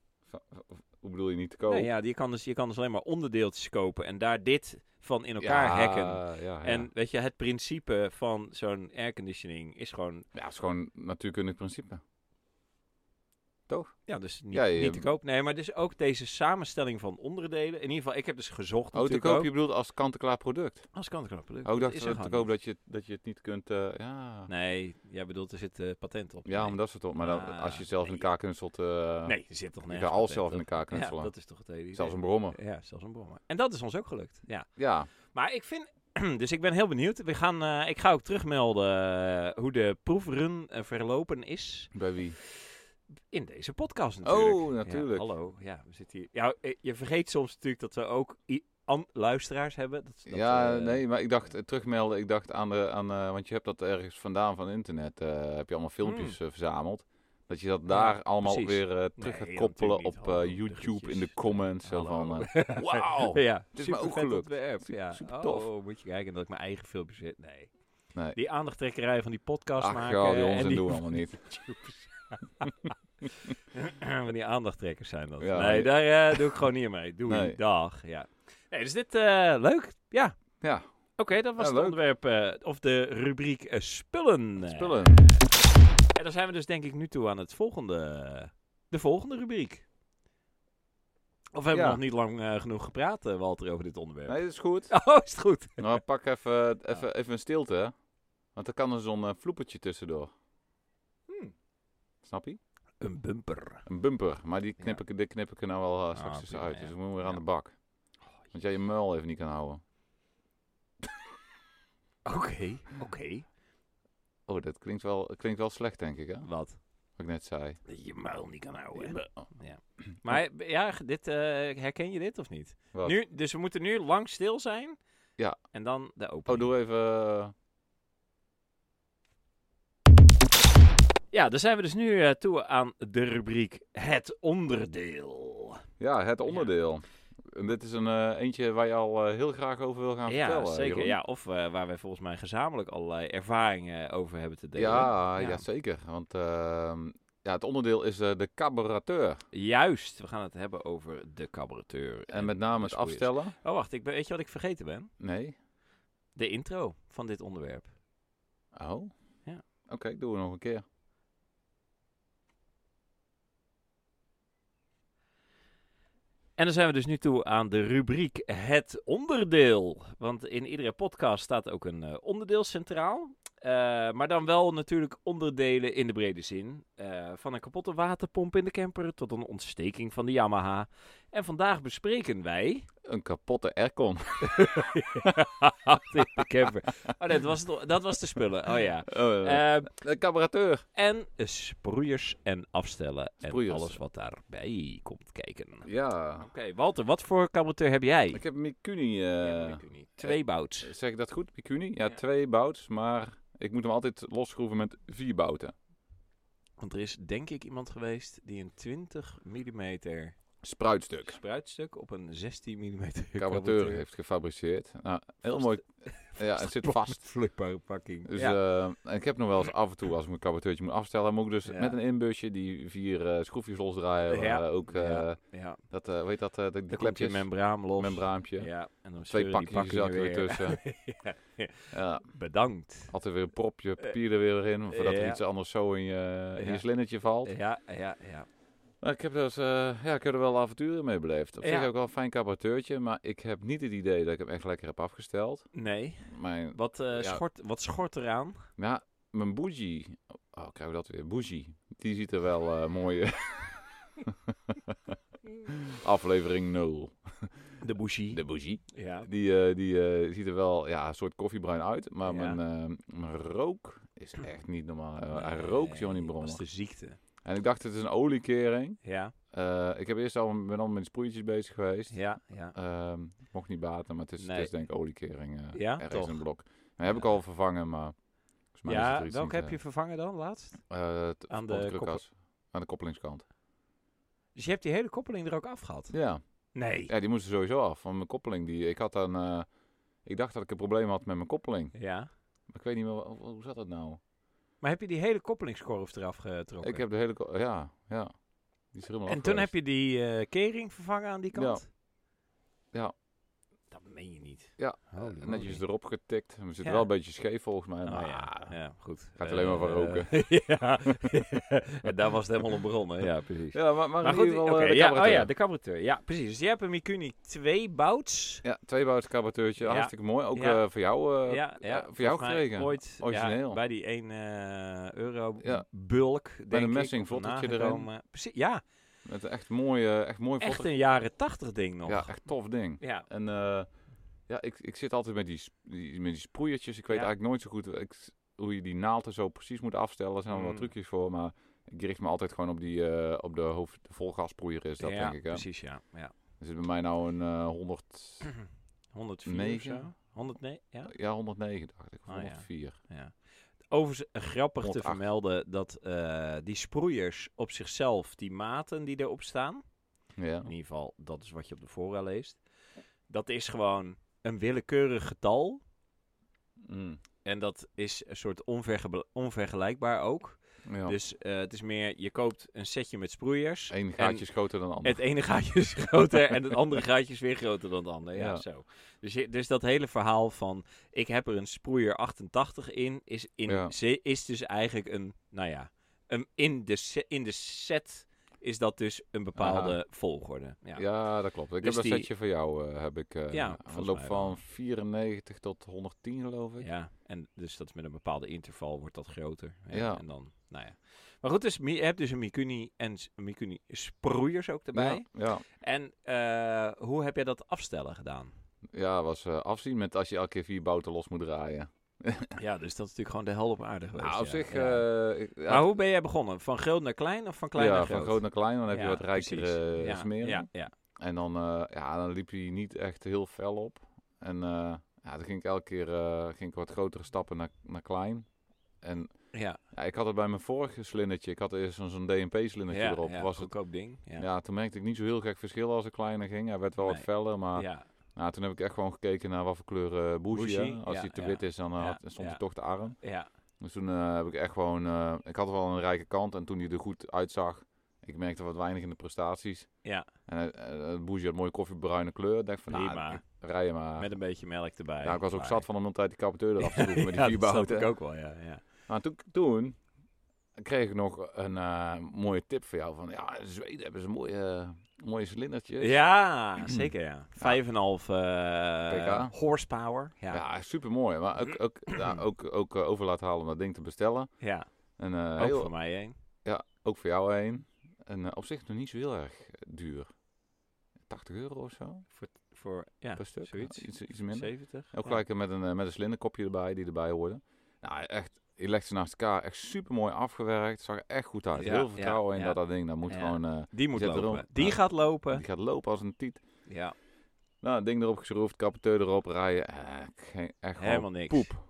[SPEAKER 2] Hoe bedoel je niet te kopen?
[SPEAKER 1] Nee, ja, je kan, dus, je kan dus alleen maar onderdeeltjes kopen en daar dit van in elkaar
[SPEAKER 2] Ja,
[SPEAKER 1] hacken.
[SPEAKER 2] Ja, ja.
[SPEAKER 1] En weet je, het principe van zo'n airconditioning is gewoon,
[SPEAKER 2] ja, het is gewoon natuurkundig principe.
[SPEAKER 1] ja, dus niet,
[SPEAKER 2] Ja, je-
[SPEAKER 1] niet te koop. Nee, maar dus ook deze samenstelling van onderdelen. In ieder geval, ik heb dus gezocht
[SPEAKER 2] Oh, te
[SPEAKER 1] natuurlijk
[SPEAKER 2] koop, je
[SPEAKER 1] ook.
[SPEAKER 2] bedoelt als kant-en-klaar product.
[SPEAKER 1] Als kan het kopen.
[SPEAKER 2] Oh, ik dacht
[SPEAKER 1] is
[SPEAKER 2] dat
[SPEAKER 1] er
[SPEAKER 2] het te
[SPEAKER 1] gewoon
[SPEAKER 2] koop dat je, dat je het niet kunt... eh, ja.
[SPEAKER 1] niet. Nee, jij bedoelt, er zit eh, patent op.
[SPEAKER 2] ja,
[SPEAKER 1] nee.
[SPEAKER 2] maar dat is het toch. Maar dan,
[SPEAKER 1] Ah,
[SPEAKER 2] als je het zelf in
[SPEAKER 1] nee.
[SPEAKER 2] elkaar knutselt... eh
[SPEAKER 1] nee, er zit toch
[SPEAKER 2] Je
[SPEAKER 1] nergens
[SPEAKER 2] kan alles
[SPEAKER 1] patent
[SPEAKER 2] zelf in
[SPEAKER 1] op.
[SPEAKER 2] elkaar
[SPEAKER 1] Ja,
[SPEAKER 2] knutselen.
[SPEAKER 1] dat is toch het hele idee.
[SPEAKER 2] Zelfs een brommer.
[SPEAKER 1] Ja, zelfs een brommer. En dat is ons ook gelukt, ja.
[SPEAKER 2] Ja.
[SPEAKER 1] Maar ik vind. Dus ik ben heel benieuwd. We gaan, eh, ik ga ook terugmelden eh, hoe de proefrun eh, verlopen is.
[SPEAKER 2] Bij wie?
[SPEAKER 1] In deze podcast natuurlijk.
[SPEAKER 2] Oh,
[SPEAKER 1] Ja,
[SPEAKER 2] natuurlijk.
[SPEAKER 1] hallo, ja, we zitten hier. Ja, eh, je vergeet soms natuurlijk dat we ook i- an- luisteraars hebben. Dat, dat,
[SPEAKER 2] ja,
[SPEAKER 1] eh,
[SPEAKER 2] nee, maar ik dacht, eh, terugmelden, ik dacht aan de, aan, eh, want je hebt dat ergens vandaan van internet, eh, heb je allemaal filmpjes eh, verzameld. Dat je dat daar allemaal
[SPEAKER 1] Hmm. precies.
[SPEAKER 2] weer eh, terug gaat
[SPEAKER 1] natuurlijk
[SPEAKER 2] koppelen
[SPEAKER 1] niet,
[SPEAKER 2] op eh,
[SPEAKER 1] hallo,
[SPEAKER 2] YouTube in de
[SPEAKER 1] duggetjes.
[SPEAKER 2] comments. Zo
[SPEAKER 1] Hallo.
[SPEAKER 2] van, eh, wauw.
[SPEAKER 1] ja,
[SPEAKER 2] is me ook
[SPEAKER 1] supervet
[SPEAKER 2] gelukt.
[SPEAKER 1] ontwerp,
[SPEAKER 2] Super-
[SPEAKER 1] ja.
[SPEAKER 2] supertof.
[SPEAKER 1] Oh, moet je kijken dat ik mijn eigen filmpje zit. Nee.
[SPEAKER 2] Nee.
[SPEAKER 1] Die aandachttrekkerij van die podcast
[SPEAKER 2] Ach,
[SPEAKER 1] maken. eh,
[SPEAKER 2] ja, die
[SPEAKER 1] en
[SPEAKER 2] onzin
[SPEAKER 1] die-
[SPEAKER 2] doen we allemaal niet.
[SPEAKER 1] Van die aandachttrekkers zijn dat.
[SPEAKER 2] Ja,
[SPEAKER 1] nee,
[SPEAKER 2] ja.
[SPEAKER 1] daar eh, doe ik gewoon niet mee. Doei,
[SPEAKER 2] Nee.
[SPEAKER 1] dag. Ja. Nee, dus dit, eh, leuk. Ja.
[SPEAKER 2] Ja.
[SPEAKER 1] Oké, dat was
[SPEAKER 2] Ja,
[SPEAKER 1] het
[SPEAKER 2] leuk.
[SPEAKER 1] onderwerp, eh, of de rubriek eh, spullen.
[SPEAKER 2] Spullen.
[SPEAKER 1] En dan zijn we dus denk ik nu toe aan het volgende, eh, de volgende rubriek. Of we hebben
[SPEAKER 2] Ja.
[SPEAKER 1] nog niet lang eh, genoeg gepraat, eh, Walter, over dit onderwerp.
[SPEAKER 2] Nee, dat is goed.
[SPEAKER 1] Oh, is het goed?
[SPEAKER 2] Nou, pak even, even, even een stilte, hè. want dan kan er zo'n eh, vloepertje tussendoor.
[SPEAKER 1] Hmm.
[SPEAKER 2] Snap je?
[SPEAKER 1] Een bumper.
[SPEAKER 2] Een bumper, maar die knip
[SPEAKER 1] Ja.
[SPEAKER 2] ik, die knip ik er nou wel eh, straks
[SPEAKER 1] Ah,
[SPEAKER 2] eens
[SPEAKER 1] prima,
[SPEAKER 2] uit.
[SPEAKER 1] ja.
[SPEAKER 2] Dus we moeten weer aan
[SPEAKER 1] Ja.
[SPEAKER 2] de bak. Want jij je muil even niet kan houden.
[SPEAKER 1] Oké, oké.
[SPEAKER 2] Oh, dat klinkt wel, klinkt wel slecht, denk ik, hè? Wat
[SPEAKER 1] Wat?
[SPEAKER 2] ik net zei.
[SPEAKER 1] Dat je muil niet kan houden.
[SPEAKER 2] Oh,
[SPEAKER 1] Maar ja, dit, eh, herken je dit of niet?
[SPEAKER 2] wat?
[SPEAKER 1] Nu, dus we moeten nu lang stil zijn.
[SPEAKER 2] Ja.
[SPEAKER 1] En dan de
[SPEAKER 2] Oh,
[SPEAKER 1] opening.
[SPEAKER 2] doe even... eh,
[SPEAKER 1] Ja, dan zijn we dus nu eh, toe aan de rubriek Het Onderdeel.
[SPEAKER 2] ja, het onderdeel. En dit is een eh, eentje waar je al eh, heel graag over wil gaan
[SPEAKER 1] ja,
[SPEAKER 2] vertellen.
[SPEAKER 1] zeker.
[SPEAKER 2] Jeroen.
[SPEAKER 1] Ja, of eh, waar wij volgens mij gezamenlijk allerlei ervaringen eh, over hebben te delen.
[SPEAKER 2] Ja,
[SPEAKER 1] Ja.
[SPEAKER 2] ja, zeker. Want ehm, ja, het onderdeel is eh, de carburateur.
[SPEAKER 1] Juist, we gaan het hebben over de cabareteur.
[SPEAKER 2] En met name
[SPEAKER 1] dus
[SPEAKER 2] het
[SPEAKER 1] hoe je-
[SPEAKER 2] afstellen.
[SPEAKER 1] Oh, wacht. Ik ben, weet je wat ik vergeten ben?
[SPEAKER 2] Nee.
[SPEAKER 1] De intro van dit onderwerp.
[SPEAKER 2] Oh.
[SPEAKER 1] Ja.
[SPEAKER 2] Oké, doen we nog een keer.
[SPEAKER 1] En dan zijn we dus nu toe aan de rubriek Het Onderdeel. Want in iedere podcast staat ook een eh, onderdeel centraal. Eh, maar dan wel natuurlijk onderdelen in de brede zin. Eh, van een kapotte waterpomp in de camper tot een ontsteking van de Yamaha. En vandaag bespreken wij.
[SPEAKER 2] Een kapotte aircon.
[SPEAKER 1] de camper. Oh, nee, dat, was het- dat was de spullen. Oh ja.
[SPEAKER 2] Eh
[SPEAKER 1] Eh,
[SPEAKER 2] de carburateur.
[SPEAKER 1] en sproeiers en afstellen.
[SPEAKER 2] Sproeiers.
[SPEAKER 1] En alles wat daarbij komt kijken. Oké,
[SPEAKER 2] Ja.
[SPEAKER 1] Walter, wat voor caboteur heb jij?
[SPEAKER 2] Ik heb een Mikuni. eh,
[SPEAKER 1] Ja, dat weet ik niet. Twee bouts.
[SPEAKER 2] Zeg ik dat goed, Mikuni? Ja,
[SPEAKER 1] Ja.
[SPEAKER 2] twee bouts, maar ik moet hem altijd losschroeven met vier bouten.
[SPEAKER 1] Want er is denk ik iemand geweest die een 20 mm
[SPEAKER 2] Spruitstuk.
[SPEAKER 1] spruitstuk op een 16 mm
[SPEAKER 2] Carburateur heeft gefabriceerd. Nou, heel mooi. Ja, het zit vast.
[SPEAKER 1] Vloeibare pakking.
[SPEAKER 2] Dus,
[SPEAKER 1] ja.
[SPEAKER 2] eh, en ik heb nog wel eens af en toe, als ik mijn carburateurtje moet afstellen, moet ik dus
[SPEAKER 1] Ja.
[SPEAKER 2] met een inbusje die vier eh, schroefjes losdraaien. waar,
[SPEAKER 1] Ja.
[SPEAKER 2] eh, ook eh,
[SPEAKER 1] Ja. ja.
[SPEAKER 2] dat, eh, hoe heet dat, eh, de,
[SPEAKER 1] Dan
[SPEAKER 2] de
[SPEAKER 1] komt je
[SPEAKER 2] klepjes,
[SPEAKER 1] membraan los.
[SPEAKER 2] membraampje.
[SPEAKER 1] Ja, en dan
[SPEAKER 2] Twee
[SPEAKER 1] scheuren die
[SPEAKER 2] pakjes
[SPEAKER 1] pakkingen
[SPEAKER 2] zaten weer
[SPEAKER 1] weer.
[SPEAKER 2] tussen.
[SPEAKER 1] Ja.
[SPEAKER 2] Ja,
[SPEAKER 1] Bedankt.
[SPEAKER 2] altijd weer een propje papier er weer in, voordat er
[SPEAKER 1] ja.
[SPEAKER 2] iets anders zo in je, in
[SPEAKER 1] Ja.
[SPEAKER 2] je slindertje valt.
[SPEAKER 1] Ja, ja, ja.
[SPEAKER 2] Nou, ik, heb dus, eh, ja, ik heb er wel avonturen mee beleefd. Op
[SPEAKER 1] Ja.
[SPEAKER 2] zich heb ik wel een fijn cabareteurtje, maar ik heb niet het idee dat ik hem echt lekker heb afgesteld.
[SPEAKER 1] Nee.
[SPEAKER 2] Mijn,
[SPEAKER 1] Wat, eh,
[SPEAKER 2] Ja.
[SPEAKER 1] schort, wat schort eraan?
[SPEAKER 2] nou, mijn bougie, oh, krijgen we dat weer, bougie, die ziet er wel eh mooi aflevering 0.
[SPEAKER 1] De bougie.
[SPEAKER 2] De bougie.
[SPEAKER 1] Ja.
[SPEAKER 2] Die, eh, die eh, ziet er wel ja, een soort koffiebruin uit, maar
[SPEAKER 1] Ja.
[SPEAKER 2] mijn, eh, mijn rook is echt niet normaal. Eh, hij rookt Johnny
[SPEAKER 1] Nee,
[SPEAKER 2] Bronner.
[SPEAKER 1] Dat is de ziekte.
[SPEAKER 2] En ik dacht, het is een oliekering.
[SPEAKER 1] Ja,
[SPEAKER 2] Eh, ik heb eerst al ben al met sproeitjes bezig geweest.
[SPEAKER 1] ja, ja.
[SPEAKER 2] Ehm, mocht niet baten, maar het is,
[SPEAKER 1] Nee.
[SPEAKER 2] het is denk ik oliekering. eh
[SPEAKER 1] Ja,
[SPEAKER 2] ergens
[SPEAKER 1] toch?
[SPEAKER 2] in een blok. Maar heb ik
[SPEAKER 1] Ja.
[SPEAKER 2] al vervangen, maar volgens mij is het
[SPEAKER 1] ja,
[SPEAKER 2] er iets
[SPEAKER 1] welke
[SPEAKER 2] niet,
[SPEAKER 1] heb je vervangen dan, laatst?
[SPEAKER 2] eh, eh, t-
[SPEAKER 1] aan
[SPEAKER 2] op
[SPEAKER 1] de
[SPEAKER 2] krukas. Aan de koppelingskant.
[SPEAKER 1] Dus je hebt die hele koppeling er ook afgehad?
[SPEAKER 2] Ja.
[SPEAKER 1] Nee.
[SPEAKER 2] ja, die moesten sowieso af. Want mijn koppeling, die, ik, had dan, eh, ik dacht dat ik een probleem had met mijn koppeling.
[SPEAKER 1] Ja.
[SPEAKER 2] Maar ik weet niet meer, wa- hoe, hoe zat dat nou?
[SPEAKER 1] Maar heb je die hele koppelingskorf eraf getrokken?
[SPEAKER 2] Ik heb de hele... ko- Ja, ja. Die is er helemaal
[SPEAKER 1] en toen heb je die eh, kering vervangen aan die
[SPEAKER 2] Ja.
[SPEAKER 1] kant?
[SPEAKER 2] Ja.
[SPEAKER 1] Dat meen je niet.
[SPEAKER 2] Ja,
[SPEAKER 1] Holy moly.
[SPEAKER 2] Netjes Ah. erop getikt. We zitten
[SPEAKER 1] Ja.
[SPEAKER 2] wel een beetje scheef volgens mij.
[SPEAKER 1] Oh,
[SPEAKER 2] Maar
[SPEAKER 1] ja. ja, goed.
[SPEAKER 2] Gaat alleen maar van
[SPEAKER 1] Eh,
[SPEAKER 2] roken.
[SPEAKER 1] ja, en daar was het helemaal een bron, hè? Ja, precies.
[SPEAKER 2] Ja, maar, maar,
[SPEAKER 1] Maar
[SPEAKER 2] in
[SPEAKER 1] goed,
[SPEAKER 2] ieder geval,
[SPEAKER 1] oké,
[SPEAKER 2] eh, de
[SPEAKER 1] ja, oh
[SPEAKER 2] cabaretier.
[SPEAKER 1] ja, de cabareteur. Ja, precies. Dus jij hebt een Mikuni 2 bouts.
[SPEAKER 2] Ja, tweebouwt cabareteurtje,
[SPEAKER 1] Ja.
[SPEAKER 2] hartstikke mooi. Ook
[SPEAKER 1] Ja.
[SPEAKER 2] eh, voor jou, eh,
[SPEAKER 1] ja, ja,
[SPEAKER 2] voor jou
[SPEAKER 1] volgens mij
[SPEAKER 2] gekregen.
[SPEAKER 1] Ooit ja,
[SPEAKER 2] Origineel.
[SPEAKER 1] bij die 1 euro
[SPEAKER 2] Ja.
[SPEAKER 1] bulk.
[SPEAKER 2] een
[SPEAKER 1] denk ik,
[SPEAKER 2] messing
[SPEAKER 1] of erna
[SPEAKER 2] vlottertje erin.
[SPEAKER 1] gekomen. Precies, ja,
[SPEAKER 2] met een echt mooi, eh, echt mooi
[SPEAKER 1] echt
[SPEAKER 2] foto.
[SPEAKER 1] een jaren 80 ding nog.
[SPEAKER 2] Ja, echt tof ding.
[SPEAKER 1] ja.
[SPEAKER 2] En eh, ja, ik, ik zit altijd met die, sp- die, met die sproeiertjes. Ik weet
[SPEAKER 1] Ja.
[SPEAKER 2] eigenlijk nooit zo goed eh, ik, s- hoe je die naald er zo precies moet afstellen. Er zijn wel
[SPEAKER 1] Mm.
[SPEAKER 2] wat trucjes voor, maar ik richt me altijd gewoon op, die, eh, op de, hoofd, de volgassproeier is dat,
[SPEAKER 1] Ja,
[SPEAKER 2] denk ik. Hè?
[SPEAKER 1] precies, Mhm. ja. ja.
[SPEAKER 2] Er zit bij mij nou een eh 100,
[SPEAKER 1] 104
[SPEAKER 2] Negen?
[SPEAKER 1] of zo. 109, ja.
[SPEAKER 2] ja, 109 dacht ik, of
[SPEAKER 1] Ah, ja.
[SPEAKER 2] 104.
[SPEAKER 1] ja. Overigens, eh, grappig te
[SPEAKER 2] 108.
[SPEAKER 1] vermelden dat eh, die sproeiers op zichzelf, die maten die erop staan,
[SPEAKER 2] Ja.
[SPEAKER 1] in ieder geval dat is wat je op de fora leest, dat is gewoon een willekeurig getal.
[SPEAKER 2] Mm.
[SPEAKER 1] En dat is een soort onverge- onvergelijkbaar ook.
[SPEAKER 2] Ja.
[SPEAKER 1] Dus eh, het is meer, je koopt een setje met sproeiers.
[SPEAKER 2] Eén gaatje is groter dan de ander.
[SPEAKER 1] Het ene gaatje is groter en het andere gaatje is weer groter dan het andere. Ja,
[SPEAKER 2] Ja.
[SPEAKER 1] Zo. Dus, je- dus dat hele verhaal van ik heb er een sproeier 88 in, is, in,
[SPEAKER 2] Ja.
[SPEAKER 1] ze- is dus eigenlijk een, nou ja, een, in, de se- in de set is dat dus een bepaalde
[SPEAKER 2] Aha.
[SPEAKER 1] volgorde. Ja.
[SPEAKER 2] Ja. dat klopt. Ik
[SPEAKER 1] Dus
[SPEAKER 2] heb dat
[SPEAKER 1] die-
[SPEAKER 2] setje voor jou eh, heb ik eh
[SPEAKER 1] Ja,
[SPEAKER 2] ja,
[SPEAKER 1] volgens
[SPEAKER 2] loop
[SPEAKER 1] mij wel.
[SPEAKER 2] van 94 tot 110 geloof ik.
[SPEAKER 1] Ja, en dus dat is met een bepaalde interval wordt dat groter. Ja,
[SPEAKER 2] Ja.
[SPEAKER 1] En dan, nou ja. Maar goed, dus, mi- je hebt dus een Mikuni en s- Mikuni sproeiers ook erbij.
[SPEAKER 2] Ja, ja.
[SPEAKER 1] En eh, hoe heb jij dat afstellen gedaan?
[SPEAKER 2] Ja, was eh, afzien met als je elke keer vier bouten los moet draaien.
[SPEAKER 1] Ja, dus dat is natuurlijk gewoon de hel op aarde geweest.
[SPEAKER 2] Nou, op
[SPEAKER 1] ja.
[SPEAKER 2] zich,
[SPEAKER 1] Ja.
[SPEAKER 2] eh, ik- ja,
[SPEAKER 1] Maar hoe ben jij begonnen? Van groot naar klein of van klein
[SPEAKER 2] ja,
[SPEAKER 1] naar groot?
[SPEAKER 2] van groot naar klein, dan heb je
[SPEAKER 1] Ja,
[SPEAKER 2] wat rijkere
[SPEAKER 1] precies.
[SPEAKER 2] eh,
[SPEAKER 1] ja,
[SPEAKER 2] smering.
[SPEAKER 1] Ja, ja.
[SPEAKER 2] En dan, eh, ja, dan liep hij niet echt heel fel op. En eh, ja, dan ging ik elke keer eh, ging ik wat grotere stappen naar, naar klein. En
[SPEAKER 1] ja.
[SPEAKER 2] ja, ik had het bij mijn vorige slindertje, ik had eerst zo'n zo'n DNP-slindertje
[SPEAKER 1] ja,
[SPEAKER 2] erop.
[SPEAKER 1] ja,
[SPEAKER 2] was het,
[SPEAKER 1] goedkoop ding. Ja.
[SPEAKER 2] ja. toen merkte ik niet zo heel gek verschil als ik kleiner ging. Hij werd wel
[SPEAKER 1] Nee.
[SPEAKER 2] wat feller, maar
[SPEAKER 1] Ja,
[SPEAKER 2] Nou, toen heb ik echt gewoon gekeken naar wat voor kleur eh bougie.
[SPEAKER 1] Bougie,
[SPEAKER 2] hè. Als
[SPEAKER 1] ja,
[SPEAKER 2] hij te
[SPEAKER 1] ja.
[SPEAKER 2] wit is, dan eh,
[SPEAKER 1] Ja,
[SPEAKER 2] had- stond
[SPEAKER 1] ja.
[SPEAKER 2] hij toch te arm.
[SPEAKER 1] ja.
[SPEAKER 2] Dus toen eh, heb ik echt gewoon... eh, ik had wel een rijke kant en toen hij er goed uitzag... Ik merkte wat weinig in de prestaties.
[SPEAKER 1] Ja.
[SPEAKER 2] En eh, eh, bougie had mooie koffiebruine kleur. Ik dacht van, nou,
[SPEAKER 1] Prima.
[SPEAKER 2] ik- rij je maar.
[SPEAKER 1] Met een beetje melk erbij.
[SPEAKER 2] nou, ik was ook
[SPEAKER 1] Maar-
[SPEAKER 2] zat van om de hele tijd die capateur eraf te doen met die
[SPEAKER 1] ja,
[SPEAKER 2] vier
[SPEAKER 1] dat snap
[SPEAKER 2] bouten.
[SPEAKER 1] ik ook wel, ja. ja.
[SPEAKER 2] Maar toen, toen kreeg ik nog een eh, mooie tip voor jou. Van, ja, in Zweden hebben ze mooie, eh, mooie cilindertjes.
[SPEAKER 1] Ja, zeker ja. Vijf en een half eh,
[SPEAKER 2] PK.
[SPEAKER 1] horsepower. Ja. Mm. Ja.
[SPEAKER 2] Ja, super mooi. Maar ook, ook, ja, ook, ook eh, over laten halen om dat ding te bestellen. En, eh,
[SPEAKER 1] Ook
[SPEAKER 2] heel-
[SPEAKER 1] voor mij één.
[SPEAKER 2] Ja, ook voor jou heen. En eh, op zich nog niet zo heel erg eh, duur. 80 euro of zo
[SPEAKER 1] Voor, voor ja,
[SPEAKER 2] per stuk.
[SPEAKER 1] zoiets.
[SPEAKER 2] Iets, iets minder.
[SPEAKER 1] 70.
[SPEAKER 2] Ook
[SPEAKER 1] ja.
[SPEAKER 2] gelijk eh, met een, eh, met een slinderkopje erbij die erbij hoorde. Nou, echt, je legt ze naast elkaar. Echt super mooi afgewerkt. Zag er echt goed uit.
[SPEAKER 1] Ja,
[SPEAKER 2] heel
[SPEAKER 1] ja,
[SPEAKER 2] vertrouwen in
[SPEAKER 1] ja.
[SPEAKER 2] dat dat ding. Dat moet
[SPEAKER 1] Ja.
[SPEAKER 2] gewoon. eh,
[SPEAKER 1] Die moet
[SPEAKER 2] Zet
[SPEAKER 1] lopen.
[SPEAKER 2] erom.
[SPEAKER 1] Die
[SPEAKER 2] Ja.
[SPEAKER 1] gaat lopen.
[SPEAKER 2] die gaat lopen als een tiet.
[SPEAKER 1] Ja,
[SPEAKER 2] Nou, het ding erop geschroefd, capateur erop rijden. Eh, geen, echt gewoon
[SPEAKER 1] helemaal niks.
[SPEAKER 2] poep.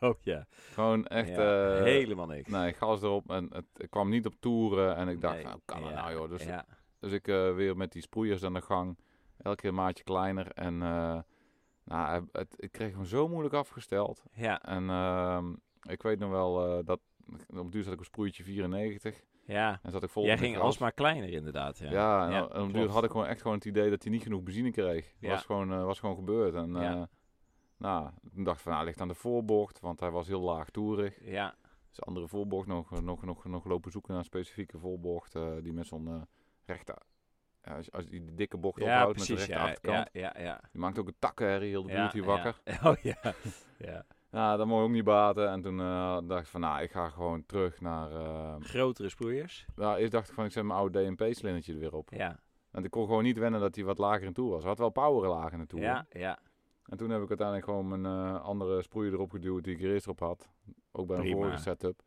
[SPEAKER 1] oh ja.
[SPEAKER 2] Gewoon echt.
[SPEAKER 1] Ja,
[SPEAKER 2] eh,
[SPEAKER 1] helemaal niks.
[SPEAKER 2] Nee, gas erop. En het, het kwam niet op toeren. En ik dacht,
[SPEAKER 1] Nee,
[SPEAKER 2] nou, kan dat
[SPEAKER 1] ja,
[SPEAKER 2] nou joh. Dus
[SPEAKER 1] ja.
[SPEAKER 2] Dus ik eh, weer met die sproeiers aan de gang. Elke keer een maatje kleiner. En eh, nou, hij- het, ik kreeg hem zo moeilijk afgesteld.
[SPEAKER 1] Ja,
[SPEAKER 2] En ehm, ik weet nog wel eh, dat op duur zat ik op sproeitje 94.
[SPEAKER 1] ja.
[SPEAKER 2] En zat ik vol
[SPEAKER 1] Jij
[SPEAKER 2] op de
[SPEAKER 1] ging
[SPEAKER 2] gras.
[SPEAKER 1] alsmaar kleiner inderdaad. Ja.
[SPEAKER 2] Ja, en,
[SPEAKER 1] Ja,
[SPEAKER 2] op- en op duur
[SPEAKER 1] klopt.
[SPEAKER 2] had ik gewoon echt gewoon het idee dat hij niet genoeg benzine kreeg.
[SPEAKER 1] Ja.
[SPEAKER 2] was, gewoon, eh, was gewoon gebeurd. En
[SPEAKER 1] Ja.
[SPEAKER 2] eh, nou, toen dacht ik van, nou, hij ligt aan de voorbocht, want hij was heel laag toerig.
[SPEAKER 1] Ja.
[SPEAKER 2] Dus Dus andere voorbocht nog, nog, nog, nog lopen zoeken naar een specifieke voorbocht eh, die met zo'n eh rechter... ja, als, als die de dikke bocht
[SPEAKER 1] ja,
[SPEAKER 2] ophoudt
[SPEAKER 1] precies.
[SPEAKER 2] met de rechter
[SPEAKER 1] Ja,
[SPEAKER 2] achterkant.
[SPEAKER 1] ja, ja, ja.
[SPEAKER 2] Die maakt ook een takkenherrie, heel de
[SPEAKER 1] Ja,
[SPEAKER 2] buurt hier
[SPEAKER 1] ja.
[SPEAKER 2] wakker.
[SPEAKER 1] Oh ja. ja.
[SPEAKER 2] Nou, dat mocht ook niet baten. En toen eh, dacht ik van, nou, ik ga gewoon terug naar... eh,
[SPEAKER 1] Grotere sproeiers.
[SPEAKER 2] nou, eerst dacht ik van, ik zet mijn oude DMP-slingertje er weer op.
[SPEAKER 1] Ja.
[SPEAKER 2] Want ik kon gewoon niet wennen dat hij wat lager in toe was. Hij had wel power laag in de toer.
[SPEAKER 1] Ja, ja.
[SPEAKER 2] En toen heb ik uiteindelijk gewoon mijn eh, andere sproeier erop geduwd die ik er eerst op had. Ook bij een
[SPEAKER 1] Prima.
[SPEAKER 2] vorige setup.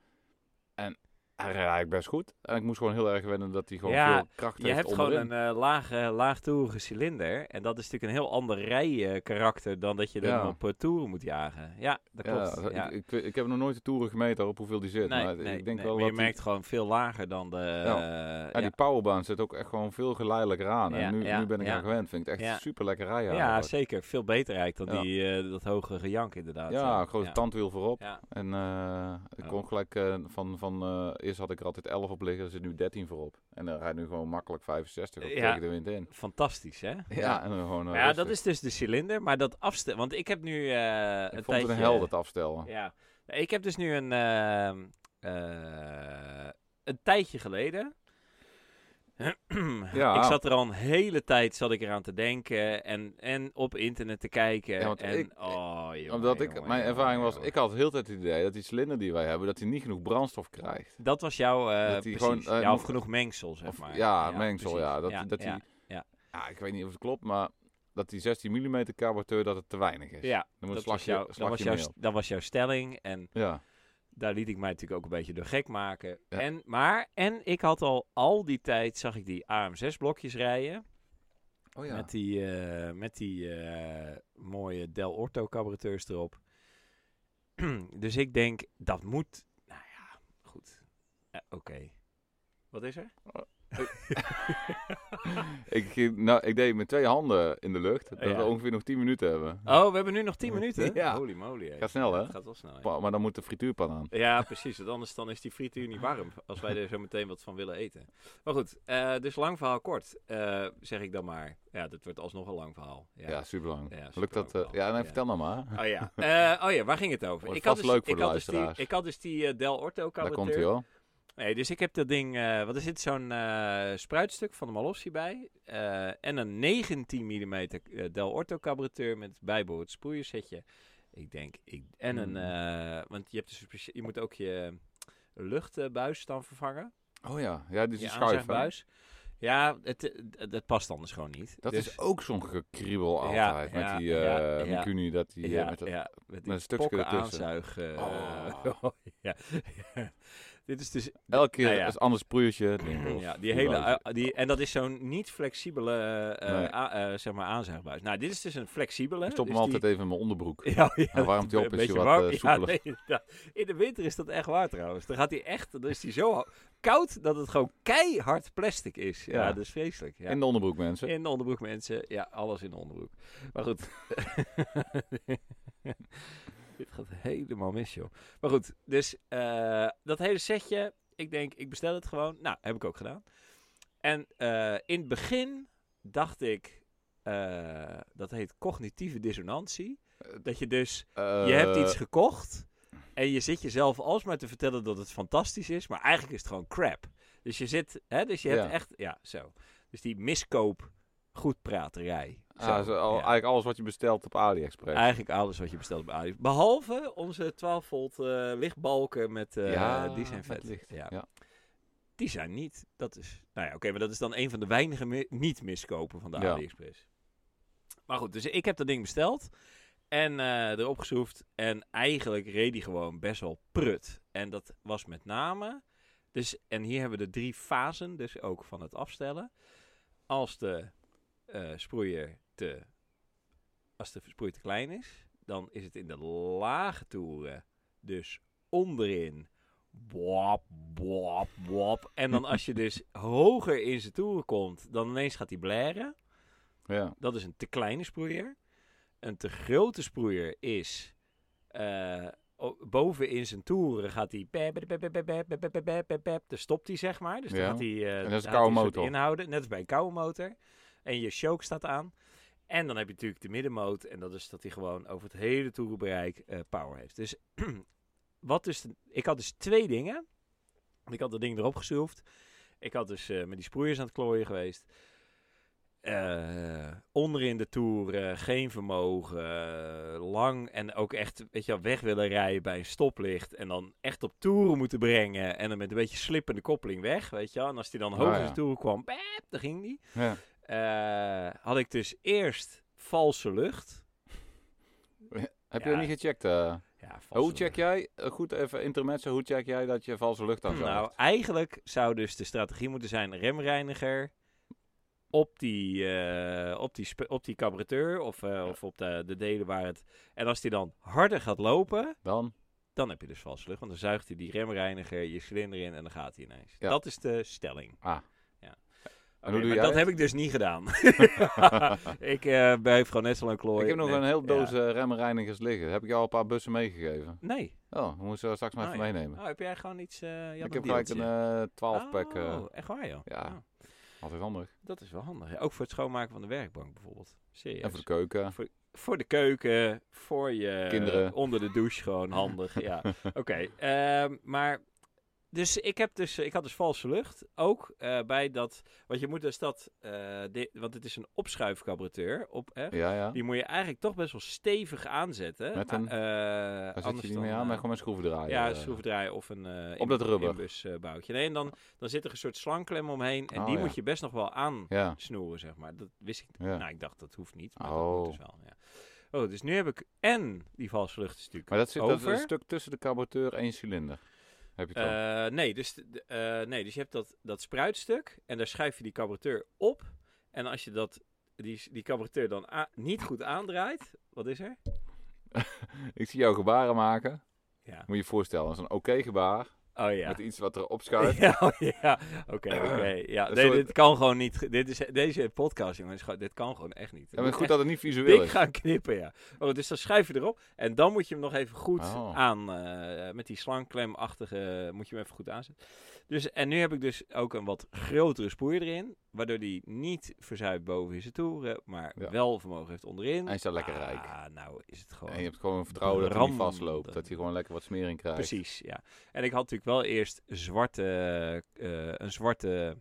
[SPEAKER 2] En hij reed eigenlijk best goed. En ik moest gewoon heel erg wennen dat hij gewoon
[SPEAKER 1] Ja,
[SPEAKER 2] veel kracht
[SPEAKER 1] Je
[SPEAKER 2] heeft
[SPEAKER 1] hebt gewoon
[SPEAKER 2] onderin.
[SPEAKER 1] een eh, lage, laagtoerige cilinder. En dat is natuurlijk een heel ander rijkarakter dan dat je er
[SPEAKER 2] Ja.
[SPEAKER 1] op eh, toeren moet jagen. Ja, dat
[SPEAKER 2] Ja,
[SPEAKER 1] klopt. Ja.
[SPEAKER 2] Ik, ik, weet- ik heb nog nooit de toeren gemeten op hoeveel die zit.
[SPEAKER 1] Nee,
[SPEAKER 2] maar
[SPEAKER 1] nee,
[SPEAKER 2] ik denk
[SPEAKER 1] nee,
[SPEAKER 2] wel
[SPEAKER 1] maar
[SPEAKER 2] dat
[SPEAKER 1] je
[SPEAKER 2] die-
[SPEAKER 1] merkt gewoon veel lager dan de... eh,
[SPEAKER 2] ja, Ah,
[SPEAKER 1] ja.
[SPEAKER 2] die powerbaan zit ook echt gewoon veel geleidelijker aan.
[SPEAKER 1] Ja,
[SPEAKER 2] en nu,
[SPEAKER 1] ja,
[SPEAKER 2] nu ben ik
[SPEAKER 1] ja.
[SPEAKER 2] aan gewend. Vind ik het echt
[SPEAKER 1] Ja.
[SPEAKER 2] super lekker rijden.
[SPEAKER 1] Ja,
[SPEAKER 2] eigenlijk.
[SPEAKER 1] zeker. Veel beter eigenlijk dan
[SPEAKER 2] Ja.
[SPEAKER 1] die, eh, dat hoge gejank inderdaad.
[SPEAKER 2] Ja, een grote tandwiel voorop.
[SPEAKER 1] Ja.
[SPEAKER 2] En eh, ik
[SPEAKER 1] Ja.
[SPEAKER 2] kon gelijk eh, van, van eh, eerst had ik er altijd 11 op liggen, er zit nu 13 voorop. En dan rijdt nu gewoon makkelijk 65 op
[SPEAKER 1] Ja.
[SPEAKER 2] tegen de wind in.
[SPEAKER 1] Fantastisch, hè?
[SPEAKER 2] Ja, en dan gewoon. eh,
[SPEAKER 1] Ja,
[SPEAKER 2] rustig.
[SPEAKER 1] dat is dus de cilinder. Maar dat afstel... Want ik heb nu eh,
[SPEAKER 2] Ik
[SPEAKER 1] een
[SPEAKER 2] vond
[SPEAKER 1] tijdje...
[SPEAKER 2] het een hel dat afstellen.
[SPEAKER 1] Ja. Nee, Ik heb dus nu een... ehm, eh, een tijdje geleden...
[SPEAKER 2] Ja.
[SPEAKER 1] Ik zat er al een hele tijd zat ik eraan te denken en, en op internet te kijken.
[SPEAKER 2] Ja, want
[SPEAKER 1] en,
[SPEAKER 2] ik-
[SPEAKER 1] oh, jongen,
[SPEAKER 2] Omdat ik,
[SPEAKER 1] jongen,
[SPEAKER 2] mijn
[SPEAKER 1] jongen,
[SPEAKER 2] ervaring was,
[SPEAKER 1] jongen.
[SPEAKER 2] ik had heel tijd het idee dat die cilinder die wij hebben, dat hij niet genoeg brandstof krijgt.
[SPEAKER 1] Dat was jouw, eh,
[SPEAKER 2] Dat die
[SPEAKER 1] precies.
[SPEAKER 2] gewoon, eh,
[SPEAKER 1] ja, of
[SPEAKER 2] nog-
[SPEAKER 1] genoeg mengsel, zeg
[SPEAKER 2] Of,
[SPEAKER 1] maar.
[SPEAKER 2] ja, mengsel,
[SPEAKER 1] precies.
[SPEAKER 2] ja. Dat, dat die,
[SPEAKER 1] ja.
[SPEAKER 2] Ja, ik weet niet of het klopt, maar dat die 16 mm carburateur dat het te weinig is.
[SPEAKER 1] Ja, dat
[SPEAKER 2] dan moet een
[SPEAKER 1] was,
[SPEAKER 2] slagje,
[SPEAKER 1] jouw, dat,
[SPEAKER 2] slagje
[SPEAKER 1] was jouw,
[SPEAKER 2] meer
[SPEAKER 1] st-
[SPEAKER 2] op.
[SPEAKER 1] dat was jouw stelling. En
[SPEAKER 2] Ja,
[SPEAKER 1] daar liet ik mij natuurlijk ook een beetje door gek maken.
[SPEAKER 2] Ja.
[SPEAKER 1] En, maar, en ik had al al die tijd, zag ik die AM6-blokjes rijden.
[SPEAKER 2] oh ja.
[SPEAKER 1] Met die, eh, met die eh, mooie Del Orto carburateurs erop. dus ik denk, dat moet... Nou ja, goed. Eh, Oké. Wat is er?
[SPEAKER 2] Oh. Ik, ging- nou, ik deed met twee handen in de lucht, dat
[SPEAKER 1] Ja.
[SPEAKER 2] we ongeveer nog 10 minuten hebben.
[SPEAKER 1] Oh, we hebben nu nog 10 minuten?
[SPEAKER 2] eh? Ja.
[SPEAKER 1] Holy moly. hè.
[SPEAKER 2] Gaat snel, hè?
[SPEAKER 1] Het gaat wel snel, ja.
[SPEAKER 2] Pa- Maar dan moet de frituurpan aan.
[SPEAKER 1] Ja, precies. Want anders dan is die frituur niet warm. Als wij er zo meteen wat van willen eten. Maar goed, eh, dus lang verhaal kort. eh, zeg ik dan maar. Ja, dat wordt alsnog een lang verhaal. Ja.
[SPEAKER 2] Ja, super lang.
[SPEAKER 1] Ja, superlang
[SPEAKER 2] Lukt dat? eh,
[SPEAKER 1] wel.
[SPEAKER 2] ja, nee,
[SPEAKER 1] Ja.
[SPEAKER 2] vertel nou maar.
[SPEAKER 1] Oh ja. Eh, oh ja, waar ging het over?
[SPEAKER 2] Wordt vast leuk voor
[SPEAKER 1] ik
[SPEAKER 2] de
[SPEAKER 1] had dus die,
[SPEAKER 2] luisteraars.
[SPEAKER 1] ik had dus die eh, Del Orto
[SPEAKER 2] Daar komt hij
[SPEAKER 1] carburetor.
[SPEAKER 2] hoor.
[SPEAKER 1] Nee, dus ik heb dat ding... eh, wat er zit zo'n eh, spruitstuk van de Malossi bij. eh, en een 19 mm Del Orto carburetor met bijbehorend sproeiersetje. Ik denk... Ik, en een...
[SPEAKER 2] Hmm.
[SPEAKER 1] eh, want je, hebt dus een specie- je moet ook je luchtbuis dan vervangen.
[SPEAKER 2] Oh ja, ja dit is
[SPEAKER 1] Ja,
[SPEAKER 2] een schuif. hè?
[SPEAKER 1] aanzegbuis. Ja, het, het, het past anders gewoon niet.
[SPEAKER 2] Dat
[SPEAKER 1] Dus-
[SPEAKER 2] is ook zo'n gekriebel
[SPEAKER 1] Ja,
[SPEAKER 2] altijd met
[SPEAKER 1] ja,
[SPEAKER 2] die eh
[SPEAKER 1] ja, ja.
[SPEAKER 2] Mikuni, dat die eh,
[SPEAKER 1] ja,
[SPEAKER 2] met dat-
[SPEAKER 1] ja, met die
[SPEAKER 2] een stukje
[SPEAKER 1] pokken
[SPEAKER 2] ertussen.
[SPEAKER 1] aanzuig. eh,
[SPEAKER 2] Oh.
[SPEAKER 1] ja. Dit is dus
[SPEAKER 2] elke keer
[SPEAKER 1] Nou ja.
[SPEAKER 2] is een ander sproeiertje. Ding, of
[SPEAKER 1] ja, die
[SPEAKER 2] die
[SPEAKER 1] hele,
[SPEAKER 2] buis.
[SPEAKER 1] eh, die, en dat is zo'n niet flexibele eh,
[SPEAKER 2] Nee.
[SPEAKER 1] a- eh, zeg maar aanzuigbuis. Nou, dit is dus een flexibele.
[SPEAKER 2] Ik stop
[SPEAKER 1] dus
[SPEAKER 2] hem altijd
[SPEAKER 1] die-
[SPEAKER 2] even in mijn onderbroek.
[SPEAKER 1] Ja, ja,
[SPEAKER 2] Dan warmt hij op,
[SPEAKER 1] een
[SPEAKER 2] is hij
[SPEAKER 1] beetje
[SPEAKER 2] wat,
[SPEAKER 1] warm.
[SPEAKER 2] eh,
[SPEAKER 1] Ja,
[SPEAKER 2] soepeler.
[SPEAKER 1] nee, ja. in de winter is dat echt waar trouwens. Dan gaat hij echt, dan is hij zo koud dat het gewoon keihard plastic is. Ja,
[SPEAKER 2] Ja.
[SPEAKER 1] dat is vreselijk. Ja.
[SPEAKER 2] In de onderbroek, mensen.
[SPEAKER 1] In de onderbroek, mensen. Ja, alles in de onderbroek. Maar goed. Dit gaat helemaal mis, joh. Maar goed, dus eh, dat hele setje. Ik denk, ik bestel het gewoon. Nou, heb ik ook gedaan. En eh, in het begin dacht ik, eh, dat heet cognitieve dissonantie. Dat je dus, je hebt
[SPEAKER 2] Eh,
[SPEAKER 1] iets gekocht en je zit jezelf alsmaar te vertellen dat het fantastisch is, maar eigenlijk is het gewoon crap. Dus je zit, hè, dus je hebt
[SPEAKER 2] Ja.
[SPEAKER 1] echt, ja, zo. Dus die miskoop goedpraterij. Zo,
[SPEAKER 2] ah, zo, al-
[SPEAKER 1] ja.
[SPEAKER 2] Eigenlijk alles wat je bestelt op AliExpress.
[SPEAKER 1] Eigenlijk alles wat je bestelt bij Aldi. Behalve onze 12 volt eh, lichtbalken met, eh,
[SPEAKER 2] Ja,
[SPEAKER 1] die zijn vet.
[SPEAKER 2] met licht.
[SPEAKER 1] Ja.
[SPEAKER 2] Ja.
[SPEAKER 1] Die zijn niet, dat is, nou ja, oké, maar dat is dan een van de weinige mi- niet miskopen van de
[SPEAKER 2] Ja.
[SPEAKER 1] AliExpress. Maar goed, dus ik heb dat ding besteld en eh erop geschroefd en eigenlijk reed die gewoon best wel prut. En dat was met name, dus, en hier hebben we de drie fasen dus ook van het afstellen. Als de eh, sproeier te, als de sproeier te klein is, dan is het in de lage toeren, dus onderin, bwap, bwap, bwap. En dan als je dus hoger in zijn toeren komt, dan ineens gaat hij blaren.
[SPEAKER 2] Ja.
[SPEAKER 1] Dat is een te kleine sproeier. Een te grote sproeier is. eh, o- boven in zijn toeren gaat hij. pep, pep, pep, pep, pep, pep, pep, pep, pep, pep. Dan stopt hij, zeg maar. Dus dan
[SPEAKER 2] Ja.
[SPEAKER 1] gaat hij. eh,
[SPEAKER 2] dat
[SPEAKER 1] gaat
[SPEAKER 2] is een
[SPEAKER 1] hij
[SPEAKER 2] koude
[SPEAKER 1] soort
[SPEAKER 2] motor.
[SPEAKER 1] Inhouden, net als bij een koude motor. En je choke staat aan. En dan heb je natuurlijk de middenmoot. En dat is dat hij gewoon over het hele toerenbereik eh, power heeft. Dus wat is de- ik had dus twee dingen. Ik had dat ding erop geschroefd. Ik had dus eh, met die sproeiers aan het klooien geweest. Eh, onderin de Tour eh, geen vermogen. eh, lang en ook echt weet je, wel, weg willen rijden bij een stoplicht. En dan echt op toeren moeten brengen. En dan met een beetje slippende koppeling weg. Weet je wel. En als die dan
[SPEAKER 2] Ah,
[SPEAKER 1] hoger
[SPEAKER 2] ja.
[SPEAKER 1] de toeren kwam, bep, dan ging die.
[SPEAKER 2] Ja.
[SPEAKER 1] Eh, had ik dus eerst valse lucht.
[SPEAKER 2] Heb
[SPEAKER 1] Ja.
[SPEAKER 2] je niet gecheckt? eh?
[SPEAKER 1] Ja, valse
[SPEAKER 2] hoe check
[SPEAKER 1] lucht.
[SPEAKER 2] jij, eh, goed even intermezzo, hoe check jij dat je valse lucht aan zou
[SPEAKER 1] Nou, eigenlijk zou dus de strategie moeten zijn remreiniger op die, eh, op die, spe- op die carburateur of, eh, of op de, de delen waar het... En als die dan harder gaat lopen,
[SPEAKER 2] Dan?
[SPEAKER 1] dan heb je dus valse lucht. Want dan zuigt hij die remreiniger je cilinder in en dan gaat hij ineens.
[SPEAKER 2] Ja.
[SPEAKER 1] Dat is de stelling.
[SPEAKER 2] Ah.
[SPEAKER 1] Ja.
[SPEAKER 2] En hoe
[SPEAKER 1] Oké,
[SPEAKER 2] doe
[SPEAKER 1] maar
[SPEAKER 2] jij
[SPEAKER 1] dat
[SPEAKER 2] het?
[SPEAKER 1] heb ik dus niet gedaan. ik eh blijf gewoon net zo lang klooien.
[SPEAKER 2] Ik heb nog
[SPEAKER 1] Nee.
[SPEAKER 2] een heel
[SPEAKER 1] Ja.
[SPEAKER 2] doos eh, remreinigers liggen. Heb ik jou al een paar bussen meegegeven?
[SPEAKER 1] Nee.
[SPEAKER 2] Oh, we moeten ze straks maar
[SPEAKER 1] Ah,
[SPEAKER 2] even
[SPEAKER 1] ja.
[SPEAKER 2] meenemen.
[SPEAKER 1] Oh, heb jij gewoon iets... eh, je had
[SPEAKER 2] ik heb gelijk
[SPEAKER 1] deeltje.
[SPEAKER 2] een eh 12-pack. eh,
[SPEAKER 1] Oh, echt waar joh?
[SPEAKER 2] ja.
[SPEAKER 1] Oh.
[SPEAKER 2] altijd handig.
[SPEAKER 1] Dat is wel handig. ja. Ook voor het schoonmaken van de werkbank bijvoorbeeld. Serieus.
[SPEAKER 2] En voor de keuken.
[SPEAKER 1] Voor de keuken, voor je... eh,
[SPEAKER 2] Kinderen.
[SPEAKER 1] Onder de douche gewoon handig, ja. Oké, ehm, maar... Dus ik, heb dus ik had dus valse lucht. Ook eh, bij dat... Want je moet dus dat... eh, di- want het is een opschuifcarburateur. Op, hè?
[SPEAKER 2] Ja, ja.
[SPEAKER 1] Die moet je eigenlijk toch best wel stevig aanzetten.
[SPEAKER 2] Met een-
[SPEAKER 1] Ah, eh,
[SPEAKER 2] Daar zit
[SPEAKER 1] anders
[SPEAKER 2] je niet
[SPEAKER 1] dan,
[SPEAKER 2] mee aan,
[SPEAKER 1] eh,
[SPEAKER 2] maar gewoon met schroeven draaien.
[SPEAKER 1] ja,
[SPEAKER 2] eh.
[SPEAKER 1] een schroevendraaier of een eh
[SPEAKER 2] Op dat rubber.
[SPEAKER 1] inbusboutje. nee, en dan, dan zit er een soort slangklem omheen. En
[SPEAKER 2] Oh,
[SPEAKER 1] die
[SPEAKER 2] ja.
[SPEAKER 1] moet je best nog wel aan
[SPEAKER 2] Ja,
[SPEAKER 1] snoeren, zeg maar. Dat wist ik.
[SPEAKER 2] ja.
[SPEAKER 1] Nou, ik dacht dat hoeft niet. Maar dat moet
[SPEAKER 2] Oh.
[SPEAKER 1] dus wel. Ja. Oh, dus nu heb ik en die valse lucht is natuurlijk.
[SPEAKER 2] Maar dat zit dat is
[SPEAKER 1] Over?
[SPEAKER 2] een stuk tussen de carburateur en je cilinder. Heb je het al?
[SPEAKER 1] Eh, nee, dus, de- de- eh, nee, dus je hebt dat, dat spruitstuk en daar schuif je die carburateur op. En als je dat, die, die carburateur dan a- niet goed aandraait, wat is er?
[SPEAKER 2] Ik zie jou gebaren maken.
[SPEAKER 1] Ja.
[SPEAKER 2] Moet je je voorstellen, dat is een oké gebaar.
[SPEAKER 1] Oh ja.
[SPEAKER 2] Met iets wat erop schuift.
[SPEAKER 1] Ja, oh ja. oké, oké. Ja,
[SPEAKER 2] Een
[SPEAKER 1] nee,
[SPEAKER 2] soort-
[SPEAKER 1] dit kan gewoon niet. ge- Dit is, deze podcast, jongens, gewoon- dit kan gewoon echt niet.
[SPEAKER 2] Ja, maar goed
[SPEAKER 1] Echt
[SPEAKER 2] dat het niet visueel
[SPEAKER 1] dik
[SPEAKER 2] is.
[SPEAKER 1] gaan knippen, ja. Oh, dus dan schuif je erop en dan moet je hem nog even goed
[SPEAKER 2] Oh.
[SPEAKER 1] aan, eh, met die slangklemachtige, moet je hem even goed aanzetten. Dus, en nu heb ik dus ook een wat grotere spoeier erin, waardoor die niet verzuipt boven in zijn toeren, maar
[SPEAKER 2] Ja.
[SPEAKER 1] wel vermogen heeft onderin.
[SPEAKER 2] Hij is daar lekker rijk.
[SPEAKER 1] Ah, nou is het gewoon...
[SPEAKER 2] En je hebt gewoon vertrouwen dat hij niet
[SPEAKER 1] Brandend.
[SPEAKER 2] vastloopt. Dat je gewoon lekker wat smering krijgt.
[SPEAKER 1] Precies, ja. En ik had natuurlijk wel eerst zwarte, eh, een zwarte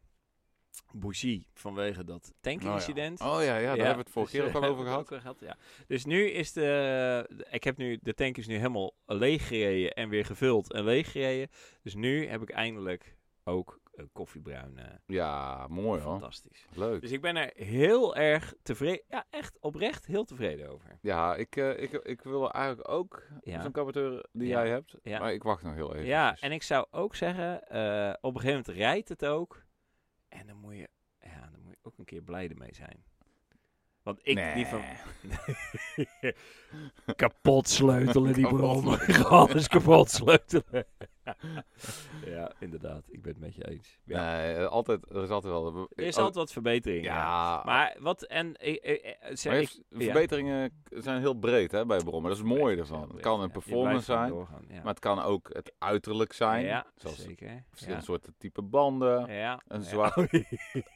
[SPEAKER 1] bougie vanwege dat tankincident.
[SPEAKER 2] Oh ja, oh, ja, ja daar hebben we het vorige
[SPEAKER 1] dus,
[SPEAKER 2] keer ook
[SPEAKER 1] eh,
[SPEAKER 2] al over gehad.
[SPEAKER 1] hebben we het ook wel gehad, ja. Dus nu is de... Ik heb nu... De tank is nu helemaal leeggereden en weer gevuld en leeggereden. Dus nu heb ik eindelijk ook een koffiebruin. eh,
[SPEAKER 2] Ja, mooi hoor.
[SPEAKER 1] fantastisch.
[SPEAKER 2] Leuk.
[SPEAKER 1] Dus ik ben er heel erg tevreden... Ja, echt oprecht heel tevreden over.
[SPEAKER 2] Ja, ik, eh, ik, ik wil eigenlijk ook
[SPEAKER 1] Ja.
[SPEAKER 2] zo'n carburateur die
[SPEAKER 1] Ja.
[SPEAKER 2] jij hebt.
[SPEAKER 1] Ja.
[SPEAKER 2] Maar ik wacht nog heel even.
[SPEAKER 1] Ja, en ik zou ook zeggen, eh, op een gegeven moment rijdt het ook. En dan moet je, ja, dan moet je ook een keer blij ermee zijn. Want ik
[SPEAKER 2] Nee.
[SPEAKER 1] die van... kapot sleutelen die
[SPEAKER 2] Kapot
[SPEAKER 1] bron. Alles kapot sleutelen. ja, inderdaad. Ik ben het met je eens. Ja.
[SPEAKER 2] Nee, eh, altijd, er is altijd wel...
[SPEAKER 1] er is
[SPEAKER 2] oh,
[SPEAKER 1] altijd wat verbetering. Ja.
[SPEAKER 2] Ja, maar,
[SPEAKER 1] Maar wat... En, ik- ik- eh, zeg,
[SPEAKER 2] je
[SPEAKER 1] ik-
[SPEAKER 2] hebt- verbeteringen zijn heel breed hè, bij brommen. Dat is het mooie ervan. Het kan
[SPEAKER 1] Ja,
[SPEAKER 2] een
[SPEAKER 1] je
[SPEAKER 2] performance
[SPEAKER 1] blijft gewoon
[SPEAKER 2] zijn,
[SPEAKER 1] doorgaan, ja.
[SPEAKER 2] maar het kan ook het uiterlijk zijn.
[SPEAKER 1] ja,
[SPEAKER 2] Zoals
[SPEAKER 1] zeker.
[SPEAKER 2] verschillende soorten type banden.
[SPEAKER 1] Ja.
[SPEAKER 2] een
[SPEAKER 1] Ja. Oh,
[SPEAKER 2] zwart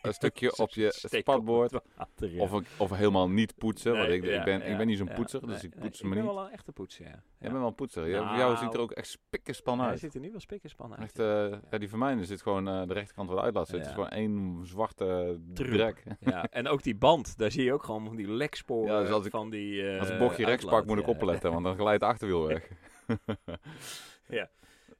[SPEAKER 2] Een stukje op je
[SPEAKER 1] Steek het
[SPEAKER 2] spatbord.
[SPEAKER 1] water, ja.
[SPEAKER 2] Of, ik- of helemaal niet poetsen. want
[SPEAKER 1] Nee,
[SPEAKER 2] ik, ik,
[SPEAKER 1] ja,
[SPEAKER 2] ben,
[SPEAKER 1] ja,
[SPEAKER 2] ik ben niet zo'n
[SPEAKER 1] ja.
[SPEAKER 2] poetser, dus
[SPEAKER 1] Nee,
[SPEAKER 2] ik
[SPEAKER 1] nee,
[SPEAKER 2] poets me niet.
[SPEAKER 1] Ik ben wel een echte poetser, ja.
[SPEAKER 2] Jij bent wel een poetser. Jij-
[SPEAKER 1] Nou.
[SPEAKER 2] Jou ziet er ook echt spikkenspan
[SPEAKER 1] Ja, Hij
[SPEAKER 2] uit.
[SPEAKER 1] ziet er nu wel spik en span uit.
[SPEAKER 2] Echt, eh, ja, die van mij er zit gewoon eh, de rechterkant van de uitlaat. zit.
[SPEAKER 1] Ja.
[SPEAKER 2] Het is gewoon één zwarte
[SPEAKER 1] Troep.
[SPEAKER 2] drek.
[SPEAKER 1] Ja, en ook die band, daar zie je ook gewoon van die leksporen
[SPEAKER 2] Ja, dus als ik-
[SPEAKER 1] van die... eh,
[SPEAKER 2] Als ik bochtje rechts pak,
[SPEAKER 1] uitlaat,
[SPEAKER 2] moet ik
[SPEAKER 1] ja.
[SPEAKER 2] opletten, want dan glijdt de achterwiel weg.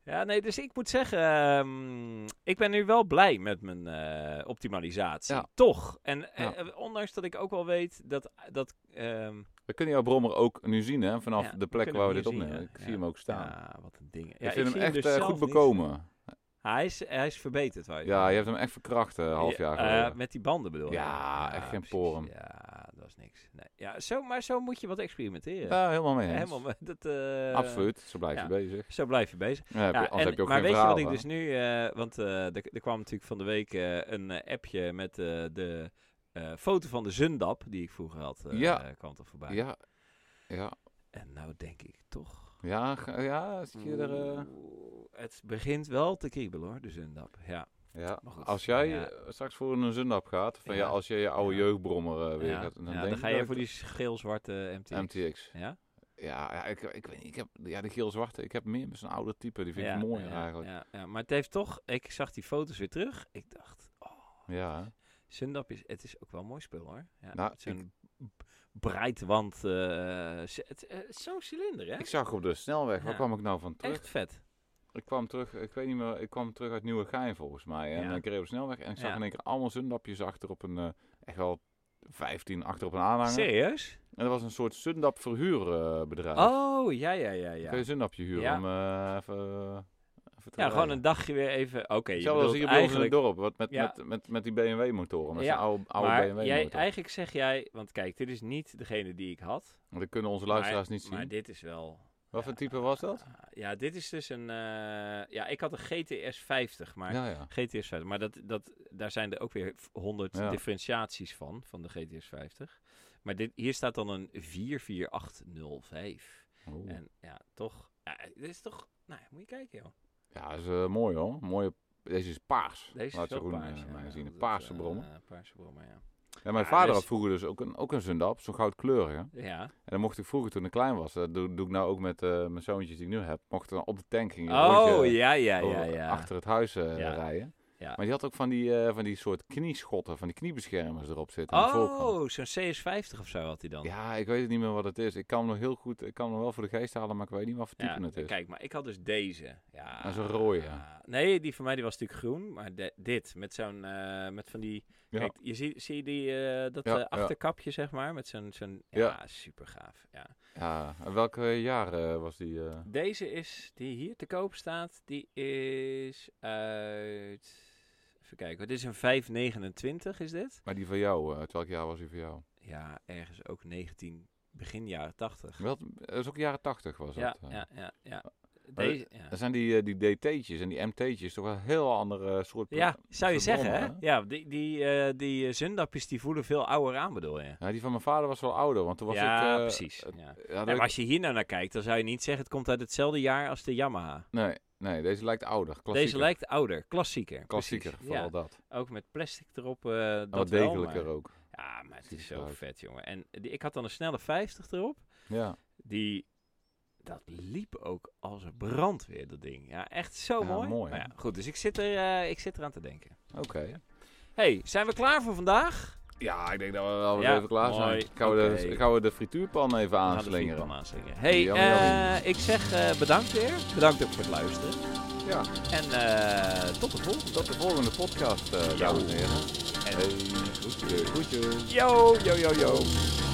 [SPEAKER 1] Ja, nee, dus ik moet zeggen, ehm, ik ben nu wel blij met mijn eh, optimalisatie.
[SPEAKER 2] Ja.
[SPEAKER 1] Toch. En eh,
[SPEAKER 2] Ja.
[SPEAKER 1] eh, ondanks dat ik ook wel weet dat... dat ehm,
[SPEAKER 2] We kunnen jouw brommer ook nu zien, hè, vanaf
[SPEAKER 1] Ja, we
[SPEAKER 2] de plek
[SPEAKER 1] kunnen
[SPEAKER 2] waar we
[SPEAKER 1] hem
[SPEAKER 2] dit
[SPEAKER 1] hier
[SPEAKER 2] opnemen.
[SPEAKER 1] zien,
[SPEAKER 2] ik
[SPEAKER 1] ja.
[SPEAKER 2] zie hem ook staan.
[SPEAKER 1] ja, wat een ding. Ja,
[SPEAKER 2] ik vind
[SPEAKER 1] zie
[SPEAKER 2] hem echt
[SPEAKER 1] dus
[SPEAKER 2] eh,
[SPEAKER 1] zelf
[SPEAKER 2] goed
[SPEAKER 1] niet.
[SPEAKER 2] bekomen.
[SPEAKER 1] Hij is, hij is verbeterd, waar
[SPEAKER 2] Ja, je hebt hem echt verkracht een half jaar
[SPEAKER 1] Ja, eh,
[SPEAKER 2] geleden.
[SPEAKER 1] met die banden bedoel je?
[SPEAKER 2] Ja, echt geen
[SPEAKER 1] precies.
[SPEAKER 2] porum.
[SPEAKER 1] Ja, dat is niks. Nee. Ja, zo, maar zo moet je wat experimenteren.
[SPEAKER 2] Ja, helemaal mee eens.
[SPEAKER 1] Helemaal, met- dat, eh,
[SPEAKER 2] Absoluut, zo blijf
[SPEAKER 1] ja.
[SPEAKER 2] je bezig.
[SPEAKER 1] Zo blijf je bezig.
[SPEAKER 2] Ja, heb je-
[SPEAKER 1] Ja,
[SPEAKER 2] anders
[SPEAKER 1] en-
[SPEAKER 2] heb je ook
[SPEAKER 1] maar
[SPEAKER 2] geen
[SPEAKER 1] weet
[SPEAKER 2] verhaal.
[SPEAKER 1] je wat
[SPEAKER 2] hè.
[SPEAKER 1] ik dus nu... eh, want eh, er, er kwam natuurlijk van de week eh, een eh, appje met eh, de eh, foto van de Zundap... die ik vroeger had, eh,
[SPEAKER 2] Ja.
[SPEAKER 1] kwam er voorbij.
[SPEAKER 2] Ja, ja,
[SPEAKER 1] En nou denk ik toch...
[SPEAKER 2] ja, ga- ja, zit je er...
[SPEAKER 1] Mm,
[SPEAKER 2] eh,
[SPEAKER 1] Oeh, Het begint wel te kriebelen hoor, de Zundap. Ja,
[SPEAKER 2] Ja,
[SPEAKER 1] Maar goed,
[SPEAKER 2] als jij
[SPEAKER 1] ja.
[SPEAKER 2] eh, straks voor een zundap gaat, van ja,
[SPEAKER 1] Ja.
[SPEAKER 2] als je je oude
[SPEAKER 1] Ja.
[SPEAKER 2] jeugdbrommer eh, weer
[SPEAKER 1] ja.
[SPEAKER 2] gaat, dan,
[SPEAKER 1] Ja,
[SPEAKER 2] denk
[SPEAKER 1] dan
[SPEAKER 2] ik
[SPEAKER 1] ga je
[SPEAKER 2] dat
[SPEAKER 1] voor
[SPEAKER 2] ik
[SPEAKER 1] die geel-zwarte MTX.
[SPEAKER 2] MTX.
[SPEAKER 1] Ja?
[SPEAKER 2] Ja, ja ik, ik weet niet. Ik heb, ja, die geel-zwarte. Ik heb meer met zo'n oude type. Die vind ik mooier
[SPEAKER 1] ja,
[SPEAKER 2] eigenlijk.
[SPEAKER 1] Ja, ja. Maar het heeft toch, ik zag die foto's weer terug. Ik dacht, oh,
[SPEAKER 2] Ja. hè?
[SPEAKER 1] Sundap is, het is ook wel een mooi spul hoor. Ja,
[SPEAKER 2] Nou,
[SPEAKER 1] met zo'n b- breidwand, eh, c- het- eh, zo'n cilinder hè?
[SPEAKER 2] Ik zag op de snelweg. Waar
[SPEAKER 1] Ja.
[SPEAKER 2] kwam ik nou van terug?
[SPEAKER 1] Echt vet.
[SPEAKER 2] Ik kwam terug. Ik weet niet meer. Ik kwam terug uit Nieuwegein volgens mij. En
[SPEAKER 1] Ja.
[SPEAKER 2] ik reed op de snelweg. En ik zag
[SPEAKER 1] Ja.
[SPEAKER 2] in één keer allemaal zundapjes achter op een... eh, echt wel 15 achter op een aanhanger.
[SPEAKER 1] Serieus?
[SPEAKER 2] En dat was een soort zundap verhuurbedrijf.
[SPEAKER 1] Oh, ja, ja, ja,
[SPEAKER 2] Kun je
[SPEAKER 1] ja.
[SPEAKER 2] een zundapje huren
[SPEAKER 1] Ja.
[SPEAKER 2] om eh, even... even te
[SPEAKER 1] Ja, gewoon
[SPEAKER 2] rijden?
[SPEAKER 1] een dagje weer even, oké, je
[SPEAKER 2] Hetzelfde als
[SPEAKER 1] bedoelt
[SPEAKER 2] hier bij ons in het
[SPEAKER 1] eigenlijk...
[SPEAKER 2] dorp, wat met,
[SPEAKER 1] Ja.
[SPEAKER 2] met, met, met die BMW-motoren, met
[SPEAKER 1] Ja,
[SPEAKER 2] zijn oude,
[SPEAKER 1] maar
[SPEAKER 2] oude
[SPEAKER 1] jij,
[SPEAKER 2] BMW-motor.
[SPEAKER 1] eigenlijk zeg jij, want kijk, dit is niet degene die ik had.
[SPEAKER 2] Want dat kunnen onze luisteraars
[SPEAKER 1] maar,
[SPEAKER 2] niet zien.
[SPEAKER 1] Maar dit is wel...
[SPEAKER 2] Wat voor type was dat?
[SPEAKER 1] Ja, dit is dus een... eh, ja, ik had een GTS 50, maar...
[SPEAKER 2] ja, ja.
[SPEAKER 1] GTS 50, maar dat, dat, daar zijn er ook weer 100
[SPEAKER 2] Ja.
[SPEAKER 1] differentiaties van, van de GTS 50. Maar dit, hier staat dan een 44805.
[SPEAKER 2] Oeh.
[SPEAKER 1] En ja, toch... Ja, dit is toch... Nou, ja, moet je kijken, joh.
[SPEAKER 2] Ja, dat is eh, mooi hoor. Mooie... Deze is paars.
[SPEAKER 1] Deze
[SPEAKER 2] Laat
[SPEAKER 1] is wel
[SPEAKER 2] Jeroen, eh,
[SPEAKER 1] paars. ja,
[SPEAKER 2] mij
[SPEAKER 1] ja,
[SPEAKER 2] zien. Een
[SPEAKER 1] dat,
[SPEAKER 2] paarse
[SPEAKER 1] eh,
[SPEAKER 2] brommer.
[SPEAKER 1] eh, paarse brommer, ja.
[SPEAKER 2] Ja, mijn
[SPEAKER 1] ja,
[SPEAKER 2] vader
[SPEAKER 1] dus-
[SPEAKER 2] had vroeger dus ook een, ook een zundap, zo'n goudkleurige. En
[SPEAKER 1] Ja.
[SPEAKER 2] dan mocht ik vroeger toen ik klein was, dat doe, doe ik nou ook met eh, mijn zoontjes die ik nu heb, mocht ik dan op de tank gingen
[SPEAKER 1] Oh, ja, ja, ja,
[SPEAKER 2] over-
[SPEAKER 1] ja.
[SPEAKER 2] eh, achter het huis eh,
[SPEAKER 1] Ja.
[SPEAKER 2] rijden.
[SPEAKER 1] Ja.
[SPEAKER 2] Maar die had ook van die, eh, van die soort knieschotten, van die kniebeschermers erop zitten. aan de voorkant.
[SPEAKER 1] Oh, zo'n CS50 of zo had hij dan.
[SPEAKER 2] Ja, ik weet het niet meer wat het is. Ik kan hem nog heel goed, ik kan hem wel voor de geest halen, maar ik weet niet wat voor type
[SPEAKER 1] Ja,
[SPEAKER 2] het is.
[SPEAKER 1] Kijk, maar ik had dus deze. Ja,
[SPEAKER 2] Dat is een rode.
[SPEAKER 1] ja. Nee, die van mij die was natuurlijk groen. Maar de- dit, met zo'n, eh, met van die...
[SPEAKER 2] Ja.
[SPEAKER 1] Kijk, je ziet zie je die, eh, dat
[SPEAKER 2] Ja,
[SPEAKER 1] eh,
[SPEAKER 2] ja.
[SPEAKER 1] achterkapje, zeg maar, met zo'n... zo'n ja,
[SPEAKER 2] Ja.
[SPEAKER 1] super gaaf. Ja.
[SPEAKER 2] Ja, en welke jaar eh, was die? eh?
[SPEAKER 1] Deze is, die hier te koop staat, die is uit... Even kijken, hoor, dit is een 529, is dit?
[SPEAKER 2] Maar die van jou, eh, uit welk jaar was die van jou?
[SPEAKER 1] Ja, ergens ook 19, begin jaren 80.
[SPEAKER 2] Wel, dat is ook jaren tachtig was
[SPEAKER 1] Ja,
[SPEAKER 2] dat. eh.
[SPEAKER 1] ja, ja, ja.
[SPEAKER 2] Maar
[SPEAKER 1] Deze, ja.
[SPEAKER 2] Dan zijn die, eh, die DT'tjes en die MT'tjes toch wel een heel ander eh, soort...
[SPEAKER 1] Ja, zou je
[SPEAKER 2] verdommen,
[SPEAKER 1] zeggen, hè?
[SPEAKER 2] hè?
[SPEAKER 1] Ja, die, die, eh, die eh, zundapjes die voelen veel ouder aan, bedoel je?
[SPEAKER 2] Ja, die van mijn vader was wel ouder, want toen was
[SPEAKER 1] ja,
[SPEAKER 2] ik... eh,
[SPEAKER 1] precies.
[SPEAKER 2] eh,
[SPEAKER 1] ja.
[SPEAKER 2] ja, dat
[SPEAKER 1] Nee,
[SPEAKER 2] ik-
[SPEAKER 1] maar als je hier nou naar kijkt, dan zou je niet zeggen... het komt uit hetzelfde jaar als de Yamaha.
[SPEAKER 2] nee, nee, deze lijkt ouder. Klassieker.
[SPEAKER 1] Deze lijkt ouder, klassieker.
[SPEAKER 2] Klassieker,
[SPEAKER 1] precies.
[SPEAKER 2] vooral
[SPEAKER 1] Ja,
[SPEAKER 2] dat. En
[SPEAKER 1] ook met plastic erop. eh dat
[SPEAKER 2] wat
[SPEAKER 1] wel,
[SPEAKER 2] degelijker
[SPEAKER 1] maar-
[SPEAKER 2] ook.
[SPEAKER 1] Ja, maar het
[SPEAKER 2] Ziet
[SPEAKER 1] is
[SPEAKER 2] er
[SPEAKER 1] zo
[SPEAKER 2] uit.
[SPEAKER 1] vet, jongen. En die, ik had dan een snelle 50 erop.
[SPEAKER 2] Ja.
[SPEAKER 1] Die, dat liep ook als een brandweer, dat ding. Ja, echt zo
[SPEAKER 2] Ja,
[SPEAKER 1] mooi.
[SPEAKER 2] mooi,
[SPEAKER 1] Maar
[SPEAKER 2] hè?
[SPEAKER 1] ja, goed, dus ik zit, er, eh, ik zit eraan te denken.
[SPEAKER 2] Oké.
[SPEAKER 1] hey, zijn we klaar voor vandaag?
[SPEAKER 2] Ja, ik denk dat we wel weer
[SPEAKER 1] Ja,
[SPEAKER 2] even klaar zijn.
[SPEAKER 1] mooi.
[SPEAKER 2] Gaan, we de,
[SPEAKER 1] Oké.
[SPEAKER 2] gaan we de frituurpan even
[SPEAKER 1] We gaan de
[SPEAKER 2] aanslingeren?
[SPEAKER 1] vriendpan aanslingeren. Hey,
[SPEAKER 2] Jammer, jammer.
[SPEAKER 1] eh, ik zeg eh, bedankt weer. Bedankt ook voor het luisteren.
[SPEAKER 2] Ja.
[SPEAKER 1] En eh, tot de volgende.
[SPEAKER 2] Tot de volgende podcast, eh,
[SPEAKER 1] Ja.
[SPEAKER 2] dames en heren.
[SPEAKER 1] En-
[SPEAKER 2] Hey, groetjes. Groetjes.
[SPEAKER 1] Yo, yo, yo, yo.